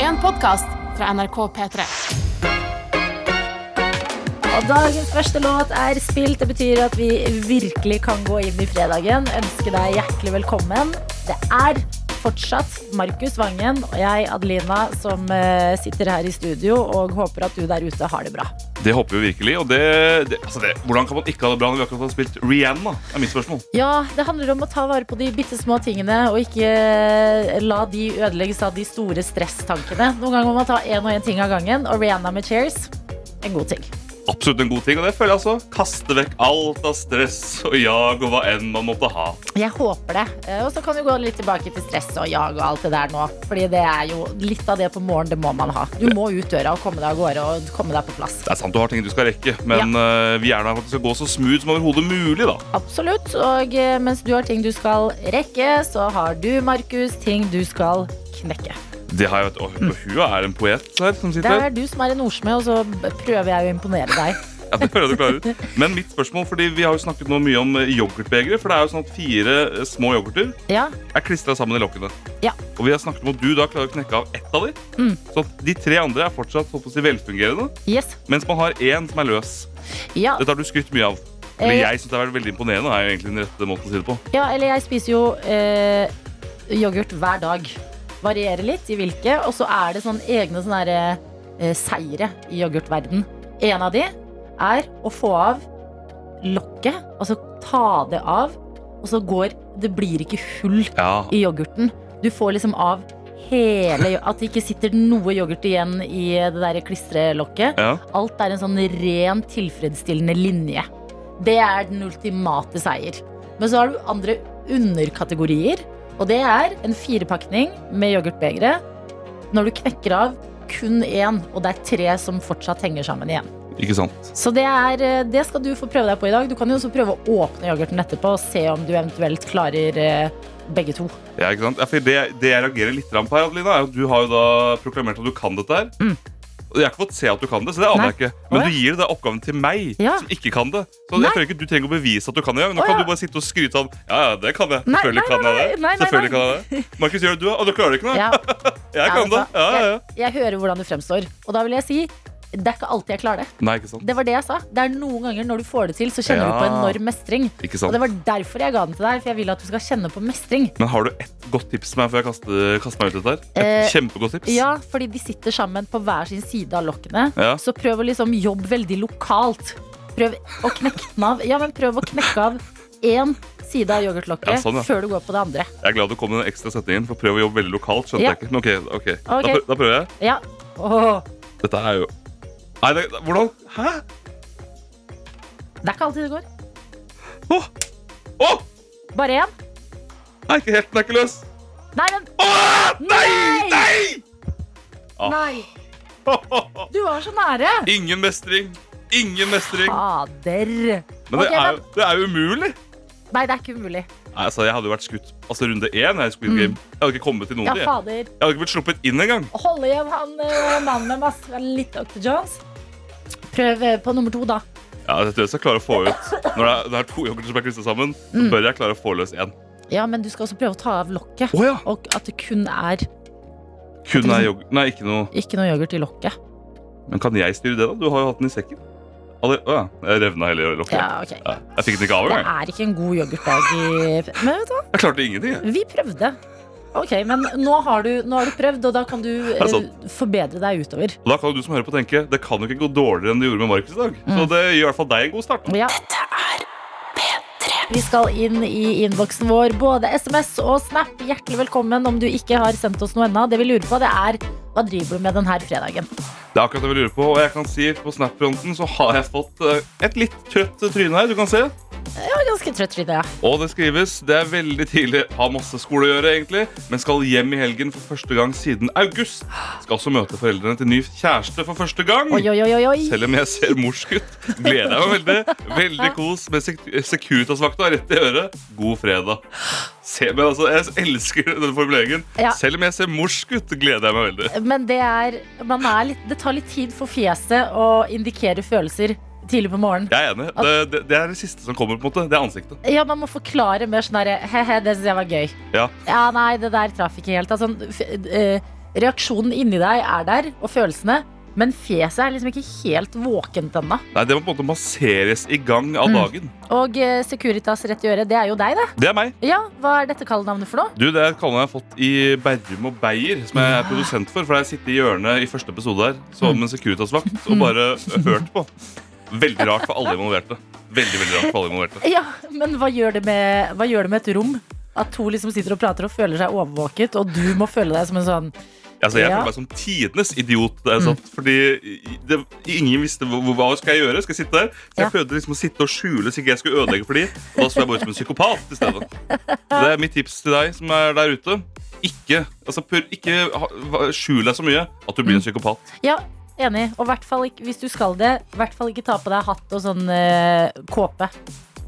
en podkast fra NRK P3. Og dagens første låt er spilt. Det betyr at vi virkelig kan gå inn i fredagen. Ønske deg hjertelig velkommen. Det er fortsatt Markus Vangen og jeg, Adelina, som eh, sitter her i studio og håper at du der ute har det bra. Det håper vi virkelig. Og det, det, altså det, hvordan kan man ikke ha det bra når vi akkurat har spilt Rihanna? er mitt spørsmål. Ja, det handler om å ta vare på de bitte små tingene og ikke la de ødelegges av de store stresstankene. Noen ganger må man ta én og én ting av gangen, og Rihanna med Cheers en god ting. Absolutt en god ting. Og det føler jeg altså. Kaste vekk alt av stress og jag og hva enn man måtte ha. Jeg håper det. Eh, Og så kan vi gå litt tilbake til stress og jag og alt det der nå. Fordi det er jo litt av det på morgen, det må man ha. Du må ut døra og komme deg av gårde og komme deg på plass. Det er sant du har ting du skal rekke, men eh, vi er der for at det skal gå så smooth som overhodet mulig, da. Absolutt. Og eh, mens du har ting du skal rekke, så har du, Markus, ting du skal knekke. Det har jeg vet, og, og hun er en poet her som Det sitter er du som er en ordsmed, og så b- prøver jeg å imponere deg. Ja, det hører jeg du klarer ut. Men mitt spørsmål, fordi vi har jo snakket nå mye om eh, yoghurtbegre, for det er jo sånn at fire eh, små yoghurter Ja, er klistra sammen i lokkene. Ja. Og vi har snakket om at du da klarer å knekke av ett av de. Mm. Så at de tre andre er fortsatt holdt på å si, velfungerende, yes. mens man har én som er løs. Ja, Dette har du skrytt mye av. Eller Eh, jeg syns det har vært veldig imponerende. er jo egentlig den rette måten å si det på. ja eller jeg spiser jo eh, yoghurt hver dag. Varierer litt i hvilke, og så er det sånn egne sånne der, eh, seire i yoghurtverden. En av de er å få av lokket, altså ta det av, og så går Det blir ikke hull Ja, i yoghurten. Du får liksom av hele At det ikke sitter noe yoghurt igjen i det der klistrelokket. ja. Alt er en sånn ren, tilfredsstillende linje. Det er den ultimate seier. Men så har du andre underkategorier, og det er en firepakning med yoghurtbegre. Når du knekker av kun én, og det er tre som fortsatt henger sammen igjen. Ikke sant. Så det, er, eh, det skal du få prøve deg på i dag. Du kan jo også prøve å åpne yoghurten etterpå og se om du eventuelt klarer eh, begge to. Ja, ikke sant? Ja, for det, det jeg reagerer litt grann på her, Adelina, er at du har jo da proklamert at du kan dette her. Mm. Og Jeg har ikke fått se at du kan det, så det aner Nei. jeg ikke. Men Å, ja. du gir da oppgaven til meg, Ja. som ikke kan det. Så Nei. jeg føler ikke du trenger å bevise at du kan det engang. Nå Å, kan ja. du bare sitte og skryte av Ja, ja, det kan jeg. Nei, Selvfølgelig nei, kan jeg nei, nei, det. nei, nei. Selvfølgelig kan jeg det. Markus, gjør det du, og du klarer det ikke nå? Ja. Jeg kan det. vet du hva? Ja, ja, ja. Jeg, jeg hører hvordan du fremstår, og da vil jeg si det er ikke alltid jeg klarer det. Nei, ikke sant. Det var det jeg sa. Det er noen ganger når du får det til, så kjenner du på Ja. enorm mestring. Ikke Og sant. det var derfor jeg ga den til deg, for jeg vil at du skal kjenne på mestring. Men har du ett godt tips til meg før jeg kaster, kaster meg ut i dette? her? Et kjempegodt tips? Eh, Ja, fordi de sitter sammen på hver sin side av lokkene. Ja. Så prøv å liksom jobbe veldig lokalt. Prøv å knekke den av. Ja, men prøv å knekke av én side av yoghurtlokket Ja, sånn, ja. før du går på det andre. Jeg er glad du kom med den ekstra setningen, for prøv å jobbe veldig lokalt. skjønte Ja. jeg ikke. Men ok, ok. Da, Ok. prø- da prøver jeg. Ja. Åh, Dette er jo Nei, det, hvordan? Hæ? det er ikke alltid det går. Åh! Åh! Bare én? Nei, ikke helt. Den er ikke løs. Nei, men Åh! Nei! Nei! Nei! Ah. Nei! Du var så nære! Ingen mestring. Ingen mestring. Fader. Men Ah, det Ok, er, jo- det er jo umulig. Nei, det er ikke umulig. Nei, altså, Jeg hadde jo vært skutt. Altså, Runde én er Squid Game. Jeg hadde ikke kommet til noen. Mm. Ja, til, jeg. fader. jeg hadde ikke blitt sluppet inn engang. Holde igjen han eh, mannen med masse litt Dr. Jones. Prøv eh, på nummer to, da. Ja, jeg tror jeg skal klare å få ut. Når det er, det er to yoghurter som er klistra sammen, så Mm. bør jeg klare å få løs én. Ja, men du skal også prøve å ta av lokket. Oh, ja. Og at det kun er Kun er yoghurt Nei, ikke noe ikke noe yoghurt i lokket. Men kan jeg styre det, da? Du har jo hatt den i sekken. Alle, å, ja. Jeg revna hele lokket. Ja, ok. Ja, Jeg fikk den ikke av Det engang. er ikke en god yoghurtdag i Men vet du hva, Jeg klarte ingenting. jeg. vi prøvde. Ok, Men nå har du, nå har du prøvd, og da kan du eh, er sant. forbedre deg utover. Og da kan jo du som hører på tenke det kan jo ikke gå dårligere enn det gjorde med Markus i dag. Så Mm. det gjør i hvert fall deg en god start. Ja. Vi skal inn i innboksen vår, både SMS og Snap. Hjertelig velkommen om du ikke har sendt oss noe ennå. Det vi lurer på, det er hva driver du med denne fredagen? Det er akkurat det vi lurer på. Og jeg kan si på Snap-fronten så har jeg fått eh, et litt trøtt tryne her. Du kan se. Jeg var ganske trøtt, Rita. Ja. Og det skrives. Det er veldig tidlig. Har masse skole å gjøre, egentlig. Men skal hjem i helgen for første gang siden august. Skal også møte foreldrene til ny kjæreste for første gang. Oi, oi, oi, oi, oi. Selv om jeg ser morsk ut, gleder jeg meg veldig. Veldig kos med sek Securitas-vakta rett i øret. God fredag. Se, men altså, jeg elsker denne formuleringen. Ja. Selv om jeg ser morsk ut, gleder jeg meg veldig. Men det er, man er litt, det tar litt tid for fjeset å indikere følelser tidlig på morgenen. Jeg er enig. Det, det, det er det siste som kommer. på en måte Det er ansiktet. Ja, man må forklare mer sånn derre He-he, det syns jeg var gøy. Ja. nei, det der traff ikke helt. Altså, f- eh, Reaksjonen inni deg er der, og følelsene, men fjeset er liksom ikke helt våkent ennå. Nei, Det må på en måte masseres i gang av Mm. dagen. Og eh, Securitas rett i øret, det er jo deg, det. Det er meg. Ja, hva er dette kallenavnet for noe? Du, Det er et kallenavn jeg har fått i Berrum og Beyer, som jeg er produsent for. For jeg sitter i hjørnet i første episode her Mm. som en Securitas-vakt og bare hørt på. Veldig rart for alle involverte. Veldig, veldig rart for alle involverte. Ja, men hva gjør det med, hva gjør det med et rom? At to liksom sitter og prater og føler seg overvåket, og du må føle deg som en sånn Altså, Ja. jeg Mm. føler meg som tidenes idiot. Det er sant? Fordi i- det, ingen visste hva, hva skal jeg gjøre. Skal jeg sitte der? Så jeg Ja. prøvde liksom å sitte og skjule så ikke jeg skulle ødelegge for de. Og da så jeg bare ut som en psykopat i stedet. Så Det er mitt tips til deg som er der ute. Ikke, altså, pur, ikke ha- hva- skjul deg så mye at du blir Mm. en psykopat. Ja, enig. Og hvert fall ikke, hvis du skal det, i hvert fall ikke ta på deg hatt og sånn eh, kåpe.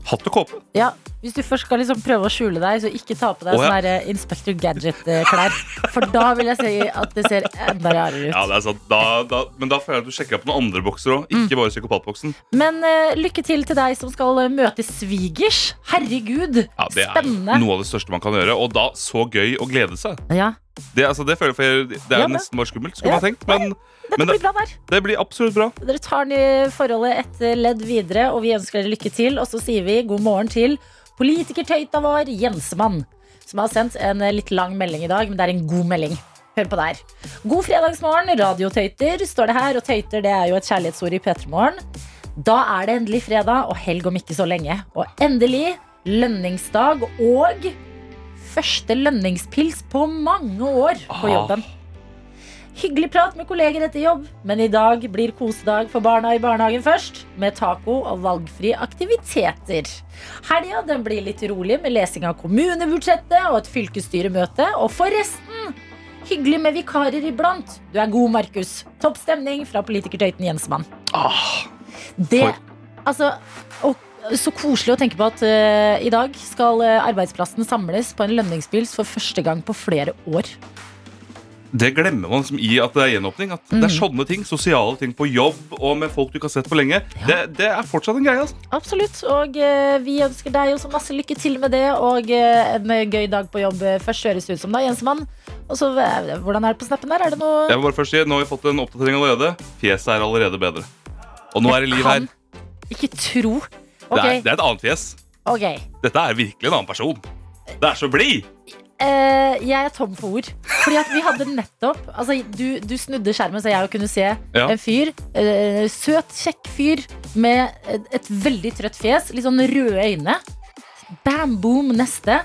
Hatt og kåpe. Ja, Hvis du først skal liksom prøve å skjule deg, så ikke ta på deg Å, ja. sånne der, eh, Inspector Gadget-klær. For da vil jeg si at det ser enda rarere ut. Ja, det er sant. Da, da, men da føler jeg at du sjekker opp noen andre bokser òg. Ikke Mm. bare psykopatboksen. Men eh, lykke til til deg som skal eh, møte svigers. Herregud, Ja, det er spennende. noe av det største man kan gjøre. Og da så gøy å glede seg. Ja, Det, altså, det, føler jeg, for jeg, det er Ja, jo men- nesten bare skummelt, skulle Ja. man tenkt. Men, Dette men blir det, bra der. det blir absolutt bra. Dere tar ny- forholdet et ledd videre, og vi ønsker dere lykke til. Og så sier vi god morgen til politikertøyta vår, Jensemann, som har sendt en litt lang melding i dag, men det er en god melding. Hør på der. God fredagsmorgen, radiotøyter, står det her. Og tøyter det er jo et kjærlighetsord i P3morgen. Da er det endelig fredag og helg om ikke så lenge. Og endelig lønningsdag og første lønningspils på mange år på Ah. jobben. Hyggelig prat med kolleger etter jobb, men i dag blir kosedag for barna i barnehagen først, med taco og valgfrie aktiviteter. Helga den blir litt rolig med lesing av kommunebudsjettet og et fylkesstyremøte. Og forresten, hyggelig med vikarer iblant. Du er god, Markus. Topp stemning fra politikertøyten Jensmann. Ah, Det, altså, og, så koselig å tenke på at eh, i dag skal eh, arbeidsplassen samles på en lønningspils for første gang på flere år. det glemmer man liksom i at det er gjenåpning. At det er Mm. sånne ting, Sosiale ting på jobb og med folk du ikke har sett på lenge. Det, det er fortsatt en greie. altså Absolutt, og eh, vi ønsker deg også masse lykke til med det og eh, en eh, gøy dag på jobb. eh, Først høres det ut som da, Jensmann. Og så, eh, hvordan er det på snappen der? Er det noe Jeg må bare først si, Nå har vi fått en oppdatering allerede. Fjeset er allerede bedre. Og nå er det liv her. kan Ikke tro. Det er, Ok, det er et annet fjes. ok. Dette er virkelig en annen person. Det er så blid! Eh, jeg er tom for ord. Fordi at vi hadde nettopp altså, du, du snudde skjermen, så jeg kunne se Ja. en fyr. eh, søt, kjekk fyr med et, et veldig trøtt fjes. Litt sånn røde øyne. Bam, boom, neste.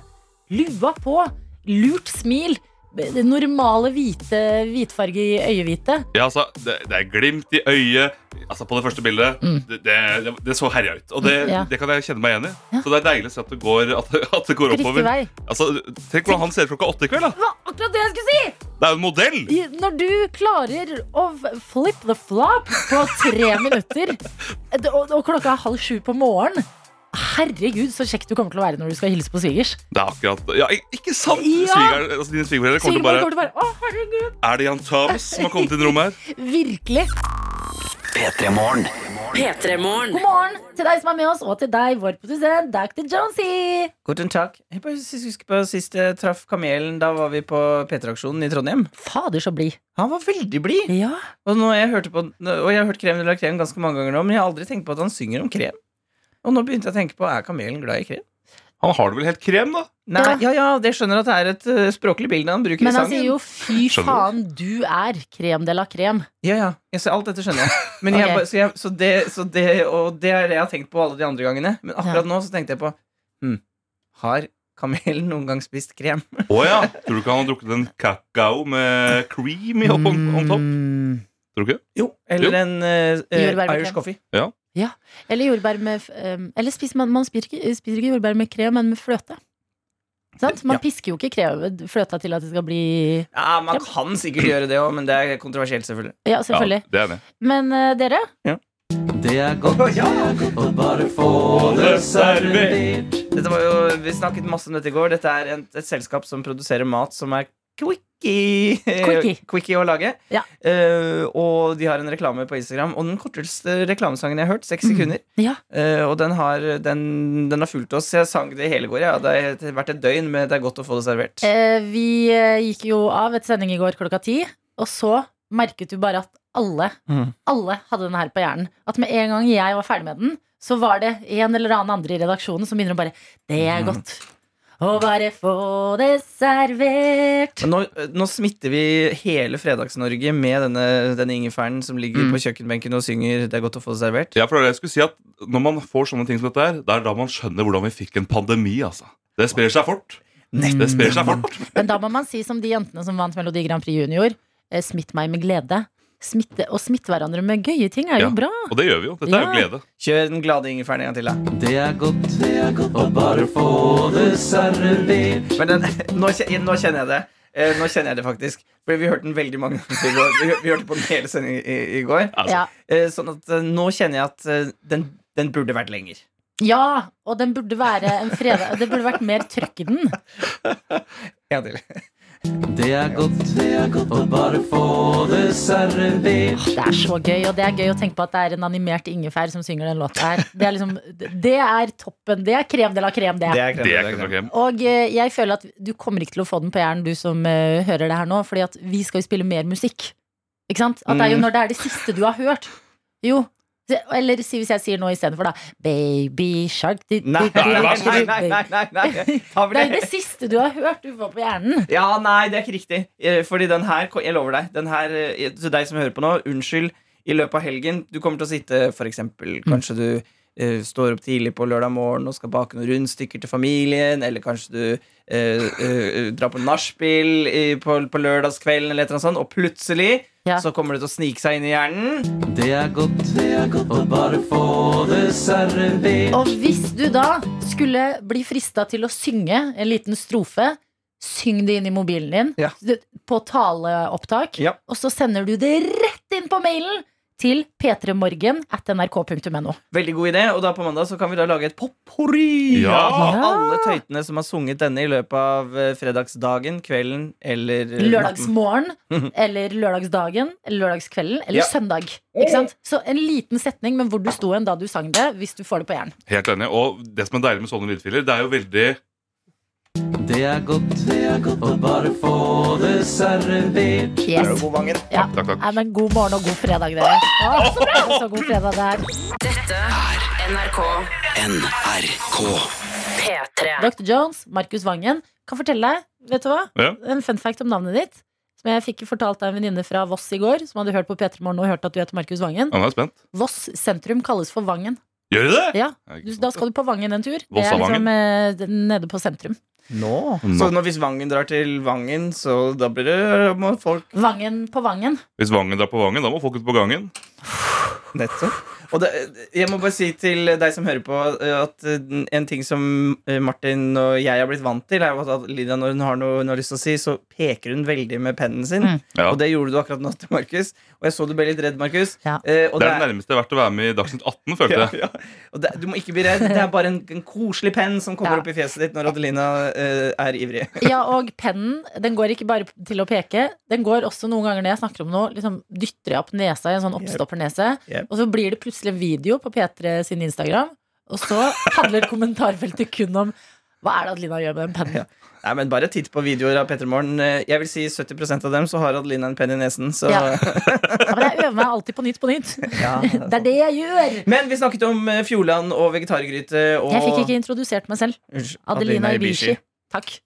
Lua på. Lurt smil. Det normale hvite, hvitfarge i øyehvitet. Ja, altså, det, det er glimt i øyet. Altså, På det første bildet. Mm. Det, det, det så herja ut. Og det, Ja. det kan jeg kjenne meg igjen i. Ja. Så det er deilig å se at det går, at, at det går Riktig oppover. vei. Altså, Tenk hvordan han ser ut klokka åtte i kveld. da Det var akkurat det jeg skulle si! Det er jo en modell! I- Når du klarer å f- flip the flop på tre minutter, eh, d- og, og klokka er halv sju på morgenen Herregud, så kjekk du kommer til å være når du skal hilse på svigers. Det er akkurat Ja, ik- ikke sant! Ja. Sviger, altså, dine svigerforeldre kommer til Svigermor å bare kommer til å bare Å, herregud! Er det Jan Thomas som har kommet inn i rommet her? Virkelig. P3-morgen. God morgen til deg som er med oss, og til deg, vår produsent Dr. Jonesy. Guten Tag. Jeg bare sy- husker på Sist jeg traff Kamelen, da var vi på P3-aksjonen i Trondheim. Fader, så blid. Han var veldig blid! Ja. Og, nå jeg hørte på, og jeg har hørt Krem de la Krem ganske mange ganger nå, men jeg har aldri tenkt på at han synger om krem. Og nå begynte jeg å tenke på er Kamelen glad i krem. Han har det vel helt krem, da? Nei, ja, ja, det skjønner at det er et eh, språklig bilde han bruker Men i han sangen. sier jo 'fy Skjønner du? faen, du er krem de la krem'. Ja, ja. Jeg ser, alt dette skjønner jeg. Men jeg, Ok. bare- så jeg så det, så det, og det er det jeg har tenkt på alle de andre gangene. Men akkurat nå så tenkte jeg på hm, Har Kamelen noen gang spist krem? Å ja. Tror du ikke han har drukket en kakao med cream i opp on, on top? Mm. Tror du ikke? Jo. Jo. Eller en eh, eh, Jordbær med krem. Irish coffee. Eller jordbær med f- um, Eller spiser man, man spiser, ikke, spiser ikke jordbær med krem, men med fløte. Sant? Man Ja. pisker jo ikke krem, fløta til at det skal bli Ja, Man kan sikkert gjøre det òg, men det er kontroversielt, selvfølgelig. Ja, selvfølgelig. Ja, det er det. Men eh, dere, Det er godt å bare få det servert. Dette var jo, Vi snakket masse om dette i går. Dette er en, et selskap som produserer mat som er quick quickie, Quickie. quickie å lage. Ja. Eh, og de har en reklame på Instagram. Og den korteste reklamesangen jeg har hørt, Mhm. seks sekunder. Ja. Eh, og den har, den, den har fulgt oss. Jeg sang det i hele går. Ja. Det har vært et døgn, men det er godt å få det servert. Eh, vi eh, gikk jo av et sending i går klokka ti, og så merket du bare at alle, Mhm. alle hadde den her på hjernen. At med en gang jeg var ferdig med den, så var det en eller annen andre i redaksjonen som begynner å bare Det er godt. Å bare få det servert. Men nå, nå smitter vi hele Fredags-Norge med denne, denne ingefæren som ligger Mm. på kjøkkenbenken og synger 'Det er godt å få det servert'. Ja, for det var det jeg skulle si at Når man får sånne ting som dette her, det er da man skjønner hvordan vi fikk en pandemi. altså. Det sprer seg fort. Det sprer seg fort. Men da må man si som de jentene som vant Melodi Grand Prix Junior. eh, Smitt meg med glede. Smitte, å smitte hverandre med gøye ting er jo Ja. bra. Og det gjør vi jo. Dette er Ja. jo glede. Kjør den glade ingefæren en gang til, da. Det er godt, det er godt å bare få det servert. Men den, nå, kje- nå kjenner jeg det. Eh, nå kjenner jeg det faktisk. Fordi vi hørte den veldig mange ganger i går. Vi, hør- vi hørte på den hele sendingen i, i går. Altså. Ja. Eh, sånn at eh, nå kjenner jeg at eh, den, den burde vært lenger. ja, og den burde være en fredag Det burde vært mer trøkk i den. En gang til. Det er godt, det er godt å bare få det servert. Det er så gøy, og det er gøy å tenke på at det er en animert ingefær som synger den låta her. Det er liksom, det er toppen. Det er krem de la krem, det. er Det er ikke noe krem. Og eh, jeg føler at du kommer ikke til å få den på hjernen, du som eh, hører det her nå, fordi at vi skal jo spille mer musikk. Ikke sant? At det er jo Mm. når det er det siste du har hørt. Jo. se- Eller si hvis jeg sier nå istedenfor, da. Baby shark di- di- Nei, di- nei, di- nei, nei, nei, nei, nei. Ta Det er jo vel- det siste du har hørt du får på hjernen. Ja, nei, det er ikke riktig. Eh, Fordi den her, jeg lover deg den her, eh, Til deg som hører på nå, unnskyld. I løpet av helgen Du kommer til å sitte, for eksempel Kanskje du eh, står opp tidlig på lørdag morgen og skal bake noen rundstykker til familien, eller kanskje du eh, eh, drar på nachspiel i- på, på lørdagskvelden, eller et eller annet sånt, og plutselig Ja. så kommer det til å snike seg inn i hjernen. Det er godt, det er godt å bare få det servert. Og hvis du da skulle bli frista til å synge en liten strofe, syng det inn i mobilen din Ja. du- på taleopptak, Ja. og så sender du det rett inn på mailen til p3morgen at nrk.no. Veldig god idé. Og da på mandag så kan vi da lage et potpourri Ja. av Ja. alle tøytene som har sunget denne i løpet av eh, fredagsdagen, kvelden eller eh, natten. Lørdagsmorgen eller lørdagsdagen eller lørdagskvelden eller Ja. Oh. søndag. Ikke sant? Så en liten setning med hvor du sto hen da du sang det, hvis du får det på hjernen. Helt enig. Og det som er deilig med sånne lydfiler, det er jo veldig Det er godt, det er godt å bare få det servert. Er Yes. du god, Vangen? Ja. Takk, takk. Nei, men god morgen og god fredag, dere. Å, så bra! Så god fredag det er. NRK NRK. P3. Dr. Jones, Markus Vangen, kan fortelle deg, vet du hva? Ja. En fun fact om navnet ditt. Som jeg fikk fortalt av en venninne fra Voss i går, som hadde hørt på P3 Morgen og hørt at du heter Markus Vangen. Ja, Nå er jeg spent. Voss sentrum kalles for Vangen. Gjør de det? Ja, Ja, ikke du, sant. Da skal du på Vangen en tur. Det Voss er av liksom eh, nede på sentrum. Nå? Nå. Så når hvis Vangen drar til Vangen, så da blir det eh, må folk Vangen på Vangen. Hvis Vangen drar på Vangen, da må folk ut på gangen. Nettopp. Og det, jeg må bare si til deg som hører på, eh, at eh, en ting som eh, Martin og jeg har blitt vant til, er jo at- at Lydia, når hun har noe hun har lyst til å si, så peker hun veldig med pennen sin. Mm. Ja. Og det gjorde du akkurat nå til Markus. Og jeg så du ble litt redd, Markus. Ja. Eh, og Det er det det er, nærmeste det har vært å være med i Dagsnytt 18, følte jeg. ja, og det, du må ikke bli redd. Det er bare en, en koselig penn som kommer Ja. opp i fjeset ditt når Adelina eh, er ivrig. Ja, og pennen den går ikke bare til å peke. Den går også noen ganger når jeg snakker om noe, liksom dytter jeg opp nesa i en sånn oppstoppernese. Yep. Og så blir det plutselig en video på P3 sin Instagram, og så handler kommentarfeltet kun om hva er det Adelina gjør med den pennen? Nei, men Bare titt på videoer av Petter Morgen. Eh, Jeg vil si 70 av dem så har Adelina en penn i nesen. Så. Ja. Ja, men jeg øver meg alltid på nytt på nytt. Det er det jeg gjør. Men vi snakket om eh, Fjordland og vegetargryte og Jeg fikk ikke introdusert meg selv. Unnskyld, Adelina Ibishi. Takk.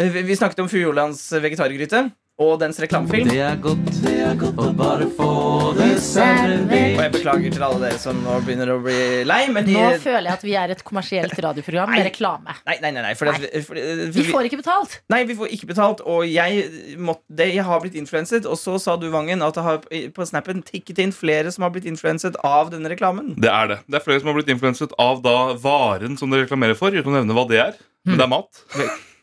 Eh, Vi vi snakket om Fjordlands vegetargryte og dens reklamefilm. Det er godt, det er godt å bare få det servert. Og jeg beklager til alle dere som nå begynner å bli lei, men de Nå føler jeg at vi er et kommersielt radioprogram med Nei. reklame. Nei, nei, nei. nei, for det, for, for, Vi får ikke betalt. Nei, vi får ikke betalt, og jeg, måtte, det, jeg har blitt influenset. Og så sa du, Vangen, at det har på snappen tikket inn flere som har blitt influenset av denne reklamen. Det er det. Det er flere som har blitt influenset av da varen som de reklamerer for, uten å nevne hva det er. Men det er mat.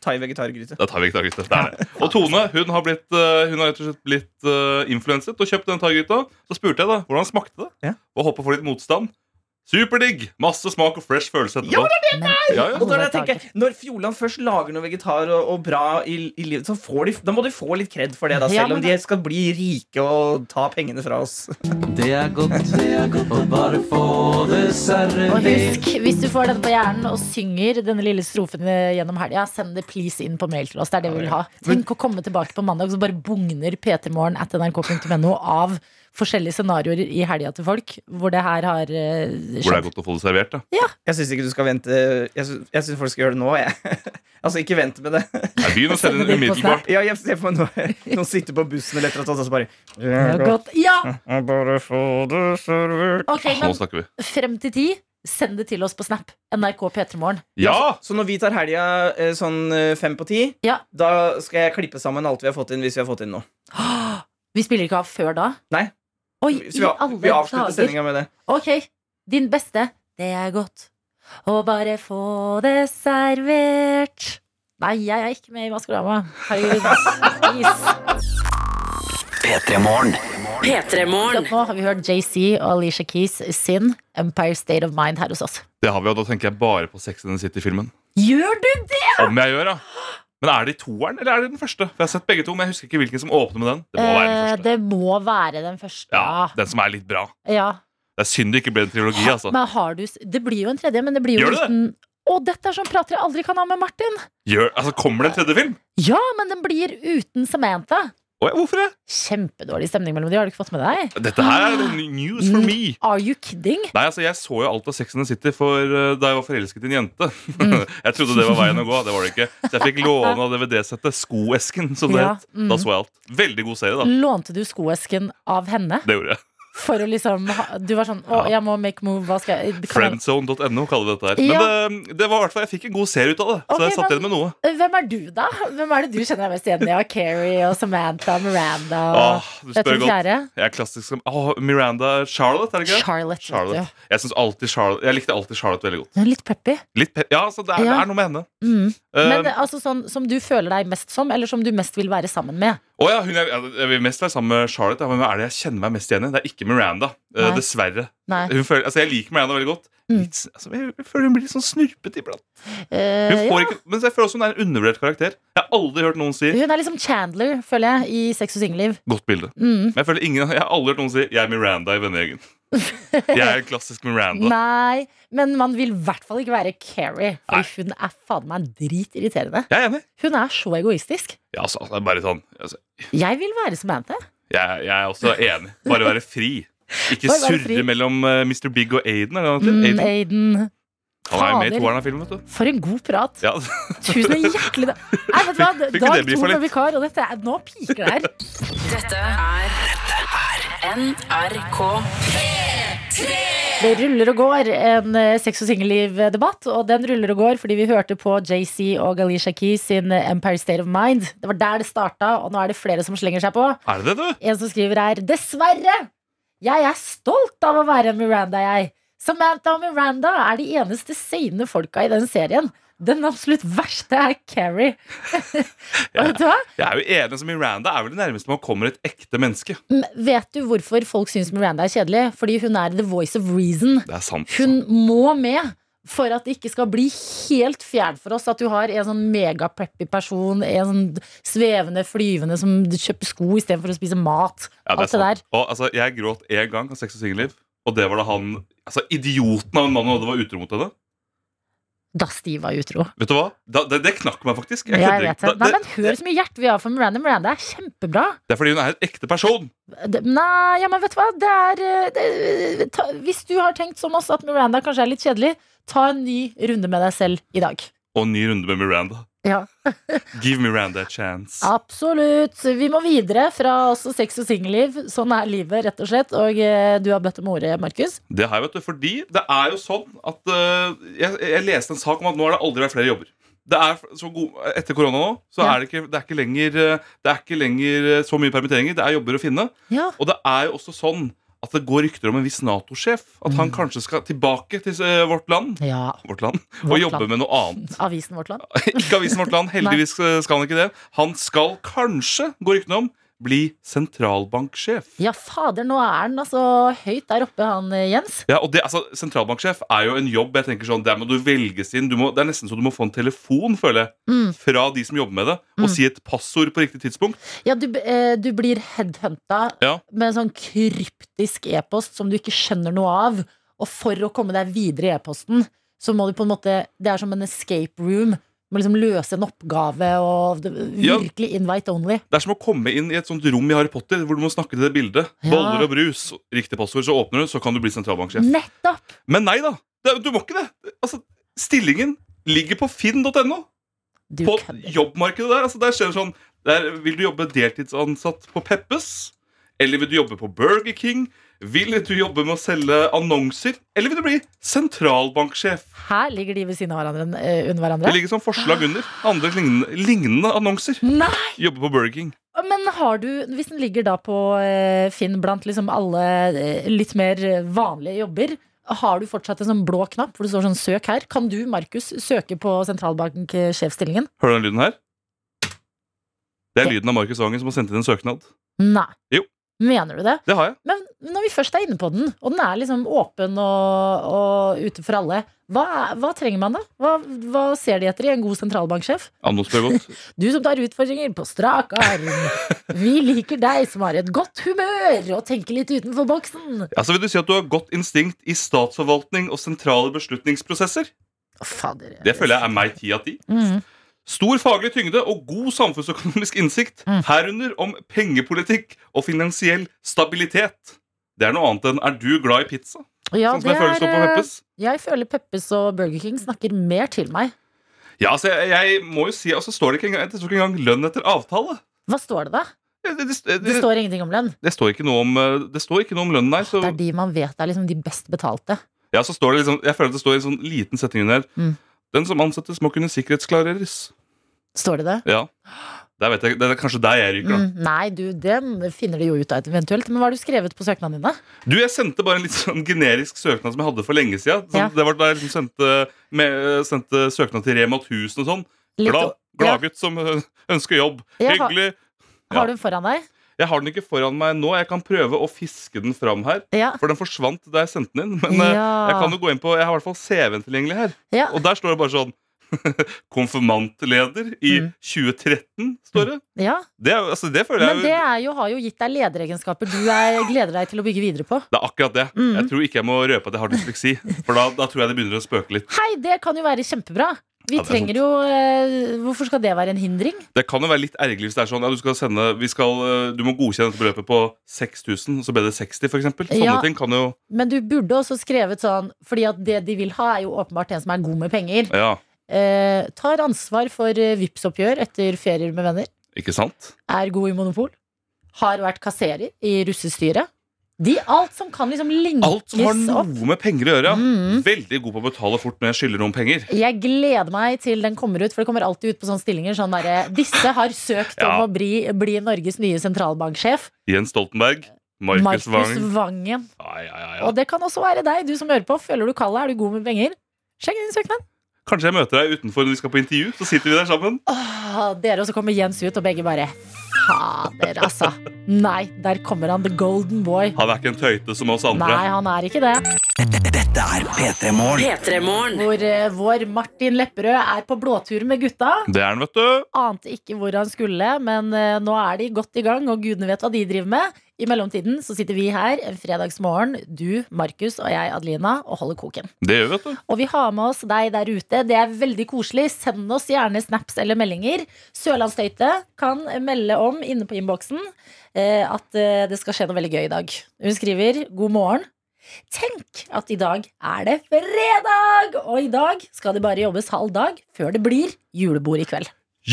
Thai vegetargryte. Det er Thai-vegetargryte. Det er det. Og Tone hun har, blitt, eh, hun har rett og slett blitt eh, influenset og kjøpt den thai-gryta. Så spurte jeg da, hvordan smakte det Ja. og håper å få litt motstand. Superdigg! Masse smak og fresh følelse etterpå. Men Ja, ja. i Og da er alle det jeg tenker, dager. Når Fjordland først lager noe vegetar og, og bra i, i livet, så får de, da må de få litt kred for det, da, Ja, selv om men de skal bli rike og ta pengene fra oss. Det er godt, det er godt å bare få det Og servert. husk, hvis du får dette på hjernen og synger denne lille strofen gjennom helga, send det please inn på mail til oss. Det er det vi vil ha. Tenk å komme tilbake på mandag, så bare bugner p3morgen at nrk.no av forskjellige scenarioer i helga til folk hvor det her har eh, Hvor det er skjedd. godt å få det servert. Da. Jeg syns ikke du skal vente Jeg syns, jeg synes folk skal gjøre det nå, jeg. altså, ikke vent med det. Nei, Begynn å sende den umiddelbart. Ja, jeg ser for meg noe- noen sitter på bussen eller et eller annet, og så bare Det er godt. Ja! Jeg bare får det servert. Ok, Nå men snakker vi. frem til ti, send det til oss på Snap. NRK P3morgen. Ja! Så når vi tar helga eh, sånn eh, fem på ti, Ja. da skal jeg klippe sammen alt vi har fått inn. Hvis vi har fått inn noe. Vi spiller ikke av før da. Nei. Oi, i Så vi, har- alle vi avslutter dager. sendinga med det. Ok, din beste Det er godt Å bare få det servert Nei, jeg er ikke med i Maskorama Herregud Is. P3 Morgen. P3 Morgen. Nå har vi hørt Jay-Z og Alicia Keys Sin Empire State of Mind her hos oss Det har vi, og da tenker jeg bare på Sex and the City-filmen. Gjør du det? Om jeg gjør, ja. Men er det i toeren, eller er det den første? For Jeg har sett begge to, men jeg husker ikke hvilken som åpner med den. Det må være den Eh, første. det må være den første Ja, Den som er litt bra. ja. Det er synd det ikke ble en trilogi, altså. Men har du s- Det blir jo en tredje, men det blir jo Gjør det det? uten Å, dette er sånn prater jeg aldri kan ha med Martin Gjør, altså kommer det en tredje film? Ja, men den blir uten Samantha Å ja, hvorfor det? Kjempedårlig stemning mellom de Har du ikke fått med deg? Dette her er Ah. noe news Mm. for me. Are you kidding? Nei, altså Jeg så jo alt av Sex and the City for, eh, da jeg var forelsket i en jente. Mm. jeg trodde det var veien å gå. det var det ikke Så jeg fikk låne av DVD-settet Skoesken, som det Ja, het. mm. Da så jeg alt. Veldig god serie, da. Lånte du skoesken av henne? Det gjorde jeg. For å liksom ha, Du var sånn Å, Ja. jeg må make move. Hva skal jeg kan jeg- Friendzone.no kaller vi dette her. Men eh, det, det var i hvert fall, jeg fikk en god serie ut av det. Så Ok, jeg satt men- igjen med noe. Eh, Hvem er du, da? Hvem er det du kjenner deg mest igjen i? Ja, Carrie og Samantha og Miranda og Åh, du Vet du spør hvem godt. fjerde? Jeg er klassisk som Åh, Miranda Charlotte, er det ikke det? Charlotte. Charlotte. Charlotte. Jeg, synes alltid Charlotte jeg likte alltid Charlotte veldig godt. Hun er litt peppy. Litt pe ja, så det er, Ja. det er noe med henne. Mm. Men Eh, altså sånn som du føler deg mest som, eller som du mest vil være sammen med. å ja, hun er, jeg vil mest være sammen med Charlotte. ja, men Hvem er det jeg kjenner meg mest igjen i? Det er ikke Miranda. eh, Nei. dessverre. Nei. Hun føler, altså, jeg liker Miranda veldig godt. Mm. Litt, s- altså, jeg, jeg føler hun blir litt sånn snurpete iblant. Hun Eh, får ikke, men jeg føler også hun er en undervurdert karakter. Jeg har aldri hørt noen si ja. Hun er liksom Chandler, føler jeg, i Sex og singelliv. Godt bilde. Mm. Men jeg, føler ingen, jeg har aldri hørt noen si Jeg er Miranda i vennegjengen. Jeg er klassisk Miranda. Nei, men man vil i hvert fall ikke være Carrie, for hun er faen meg dritirriterende. Jeg er enig. Hun er så egoistisk. Ja, altså, det er bare sånn altså, Jeg vil være Samantha. Jeg, jeg er også enig. Bare være fri. Ikke Bare være surre fri. mellom eh, Mr. Big og Aiden. Er det han heter? Mm, Aiden. Aiden. Han er jo med i fader. toeren av filmen, vet du. For en god prat. Ja. Tusen hjertelig da- Nei, vet du hva? Fikk vi Dag debrief to for med litt? vikar, og dette er, nå piker det her. Dette er NRK. Det ruller og går en eh, sex og singelliv-debatt, og den ruller og går fordi vi hørte på JC og Alicia Keys sin eh, Empire State of Mind. Det var der det starta, og nå er det flere som slenger seg på. Er det det, du? En som skriver her Dessverre! Jeg er stolt av å være en Miranda, jeg. Samantha og Miranda er de eneste sane folka i den serien. Den absolutt verste er Carrie. Og vet du hva? Jeg er jo enig som Miranda er vel det nærmeste man kommer et ekte menneske. M- Vet du hvorfor folk syns Miranda er kjedelig? Fordi hun er the voice of reason. Det er sant. altså. Hun må med for at det ikke skal bli helt fjern for oss at du har en sånn megapreppy person, en sånn svevende, flyvende som kjøper sko istedenfor å spise mat. Ja, det er Alt det der. sant. Og, altså, jeg gråt én gang av Sex og singelliv, og det var da han Altså, idioten av en mann hun hadde, var utro mot henne. Da Steve var utro. Vet du hva? Da, det, det knakk meg faktisk. Jeg Jeg kødder vet ikke. det. Da- Nei, det, men Hør så mye hjerte vi har for Miranda. Miranda er kjempebra. det er fordi hun er en ekte person. Det- Nei, ja, men vet du hva? Det er, eh, det, ta, hvis du har tenkt som oss at Miranda kanskje er litt kjedelig, ta en ny runde med deg selv i dag. Og en ny runde med Miranda. Ja. Give Miranda a chance. Absolutt. Vi må videre fra også sex og singelliv. Sånn er livet, rett og slett. Og eh, du har bedt om ordet, Markus. Det her, vet du, fordi det er jo sånn at eh, jeg, jeg leste en sak om at nå har det aldri vært flere jobber. Det er så god, Etter korona nå Så Ja. er det ikke, det er ikke lenger eh, Det er ikke lenger eh, så mye permitteringer. Det er jobber å finne. Ja. Og det er jo også sånn at det går rykter om en viss Nato-sjef. At Mm. han kanskje skal tilbake til eh, vårt land ja. Vårt land og Vårt jobbe land. med noe annet. Avisen Vårt Land. ikke avisen Vårt Land. Heldigvis eh, skal han ikke det. Han skal kanskje, går ryktene om, bli sentralbanksjef. Ja, fader, nå er han altså høyt der oppe, han eh, Jens. Ja, og det, altså, Sentralbanksjef er jo en jobb. jeg tenker sånn, Der må du velges inn. Du må, det er nesten så du må få en telefon føler jeg, Mm. fra de som jobber med det, og Mm. si et passord på riktig tidspunkt. Ja, du, eh, du blir headhunta Ja. med en sånn kryptisk e-post som du ikke skjønner noe av. Og for å komme deg videre i e-posten, så må du på en måte Det er som en escape room. Du må liksom løse en oppgave og det, Ja. virkelig invite only. Det er som å komme inn i et sånt rom i Harry Potter hvor du må snakke til det bildet. Ja. Boller og brus. Riktig passord, så åpner du, så kan du bli sentralbanksjef. Nettopp! Men nei da! Det, du må ikke det. Altså, Stillingen ligger på finn.no. Du På kødder. jobbmarkedet der. Altså, der skjer det sånn der, Vil du jobbe deltidsansatt på Peppes? Eller vil du jobbe på Burger King? Vil du jobbe med å selge annonser? Eller vil du bli sentralbanksjef? Her ligger de ved siden av hverandre eh, under Det hverandre. ligger som forslag under. Andre lignende, lignende annonser. Nei! Jobbe på Burger King. Men har du, hvis den ligger da på eh, Finn blant liksom alle eh, litt mer eh, vanlige jobber, har du fortsatt en sånn blå knapp hvor det står sånn søk her? Kan du, Markus, søke på sentralbanksjefstillingen? Hører du den lyden her? Det er Det- lyden av Markus Vangen som har sendt inn en søknad. Nei. Jo. Mener du det? Det har jeg. Men når vi først er inne på den, og den er liksom åpen og, og ute for alle, hva, er- hva trenger man da? Hva, hva ser de etter i en god sentralbanksjef? Ja, nå spør jeg godt. Du som tar utfordringer på strak arm. Vi liker deg som har et godt humør og tenker litt utenfor boksen. Altså, vil du si at du har godt instinkt i statsforvaltning og sentrale beslutningsprosesser? Å, Fader. Det føler jeg er meg ti av ti. Mm. Stor faglig tyngde og god samfunnsøkonomisk innsikt, Mm. herunder om pengepolitikk og finansiell stabilitet. Det er noe annet enn 'er du glad i pizza?' Ja, sånn som jeg det føler står på er, eh, Peppes. Jeg føler Peppes og Burger King snakker mer til meg. Ja, altså, jeg, jeg må jo si, altså, står det, ikke engang, det står ikke engang lønn etter avtale. Hva står det, da? Det, det, det, Det det, står ingenting om lønn. det står ikke noe om, eh, det står ikke noe om lønnen her. Så, Det er de man vet er liksom de best betalte. ja, så står det liksom, jeg føler at det står en sånn liten setning under her. Mm. Den som ansettes, må kunne sikkerhetsklareres. Står det det? Ja. Der vet jeg, det er kanskje der jeg ryker, da. Mm, nei, du, det finner de jo ut av eventuelt. Men hva har du skrevet på søknadene dine? Du, Jeg sendte bare en litt sånn generisk søknad som jeg hadde for lenge siden. Sånn, Ja. Det var da jeg liksom sendte, med, eh, sendte søknad til Rema 1000 og sånn. Litt- Glad ja. Gladgutt som ø, ønsker jobb. Jeg har- Hyggelig. ja. Har du den foran deg? Jeg har den ikke foran meg nå. Jeg kan prøve å fiske den fram her. Ja. For den forsvant da jeg sendte den inn. Men ø, Ja. jeg kan jo gå inn på Jeg har i hvert fall CV-en tilgjengelig her. Ja. Og der står det bare sånn Konfirmantleder i Mm. 2013, står det. ja. Det, er jo- altså, det føler jeg Men jo det er jo, har jo gitt deg lederegenskaper du er, gleder deg til å bygge videre på. Det er akkurat det. Mm. Jeg tror ikke jeg må røpe at jeg har dysleksi. For da, da tror jeg det begynner å spøke litt. Hei, det kan jo være kjempebra. Vi Ja, det er sant. trenger jo eh, Hvorfor skal det være en hindring? Det kan jo være litt ergerlig hvis det er sånn ja, du, skal sende, vi skal, eh, du må godkjenne dette beløpet på 6000, og så ble det 60 f.eks. Sånne Ja. ting kan jo Men du burde også skrevet sånn, fordi at det de vil ha, er jo åpenbart en som er god med penger. Ja, Eh, tar ansvar for eh, Vipps-oppgjør etter ferier med venner. ikke sant? Er god i monopol. Har vært kasserer i russestyret. De alt som kan liksom Alt som har linkes opp. noe med penger å gjøre. ja. Mm. Veldig god på å betale fort når jeg skylder noen penger. Jeg gleder meg til den kommer ut, for det kommer alltid ut på sånne stillinger. Sånn derre Disse har søkt om Ja. å bli, bli Norges nye sentralbanksjef. Jens Stoltenberg. Markus Markus Wang. Vangen. Ja, ja, ja, Og ja. det kan også være deg, du som hører på. Føler du kallet? Er du god med penger? Sjekk din søknad. Kanskje jeg møter deg utenfor når vi skal på intervju. Så sitter vi der sammen. Åh, dere, og så kommer Jens ut, og begge bare Fader, altså. Nei, der kommer han, the golden boy. Han er ikke en tøyte som oss andre. Nei, han er ikke det. Dette er P3 Morgen. P3morgen. Hvor eh, vår Martin Lepperød er på blåtur med gutta. Det er han, vet du. Ante ikke hvor han skulle, men eh, nå er de godt i gang, og gudene vet hva de driver med. I mellomtiden så sitter vi her en fredagsmorgen, du, Markus og jeg, Adelina, og holder koken. Det gjør vi, vet du. Og vi har med oss deg der ute. Det er veldig koselig. Send oss gjerne snaps eller meldinger. Sørlandsstøyte kan melde om inne på innboksen eh, at eh, det skal skje noe veldig gøy i dag. Hun skriver 'God morgen'. Tenk at i dag er det fredag! Og i dag skal det bare jobbes halv dag før det blir julebord i kveld.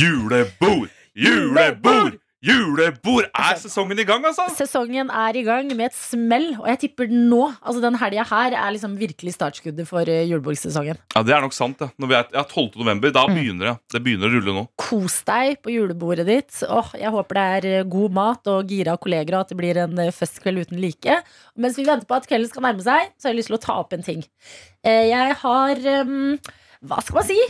Julebord! Julebord! Julebord! Er sesongen i gang, altså? Sesongen er i gang med et smell, og jeg tipper nå, altså den helga her, er liksom virkelig startskuddet for eh, julebordsesongen. Ja, Det er nok sant. Ja. Når vi er, ja, 12. november, Mm. da begynner det. Det begynner å rulle nå. Kos deg på julebordet ditt. Åh, jeg håper det er eh, god mat og gira kolleger, og at det blir en eh, festkveld uten like. Mens vi venter på at kvelden skal nærme seg, så har jeg lyst til å ta opp en ting. Eh, Jeg har eh, ehm, Hva skal man si?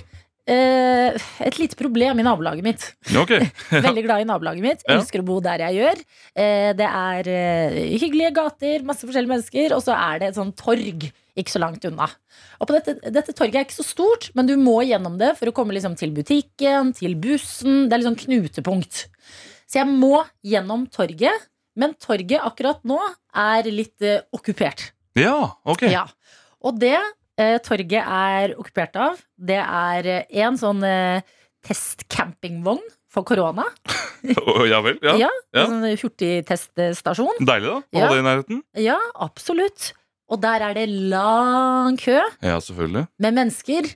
Eh, eh, et lite problem i nabolaget mitt. Ja, ok. Veldig glad i nabolaget mitt. Ja. Elsker å bo der jeg gjør. Eh, Det er eh, hyggelige gater, masse forskjellige mennesker, og så er det et sånn torg ikke så langt unna. Og på dette, dette torget er ikke så stort, men du må gjennom det for å komme liksom til butikken, til bussen. Det er litt sånn knutepunkt. Så jeg må gjennom torget, men torget akkurat nå er litt eh, okkupert. Ja, ok. Ja. Og det eh, torget er okkupert av, det er eh, en sånn eh, testcampingvogn for korona. Å, ja vel. Ja. Ja, En sånn hurtigteststasjon. Deilig, da. Ja. Å holde det i nærheten. Ja, absolutt. Og der er det lang kø Ja, selvfølgelig. med mennesker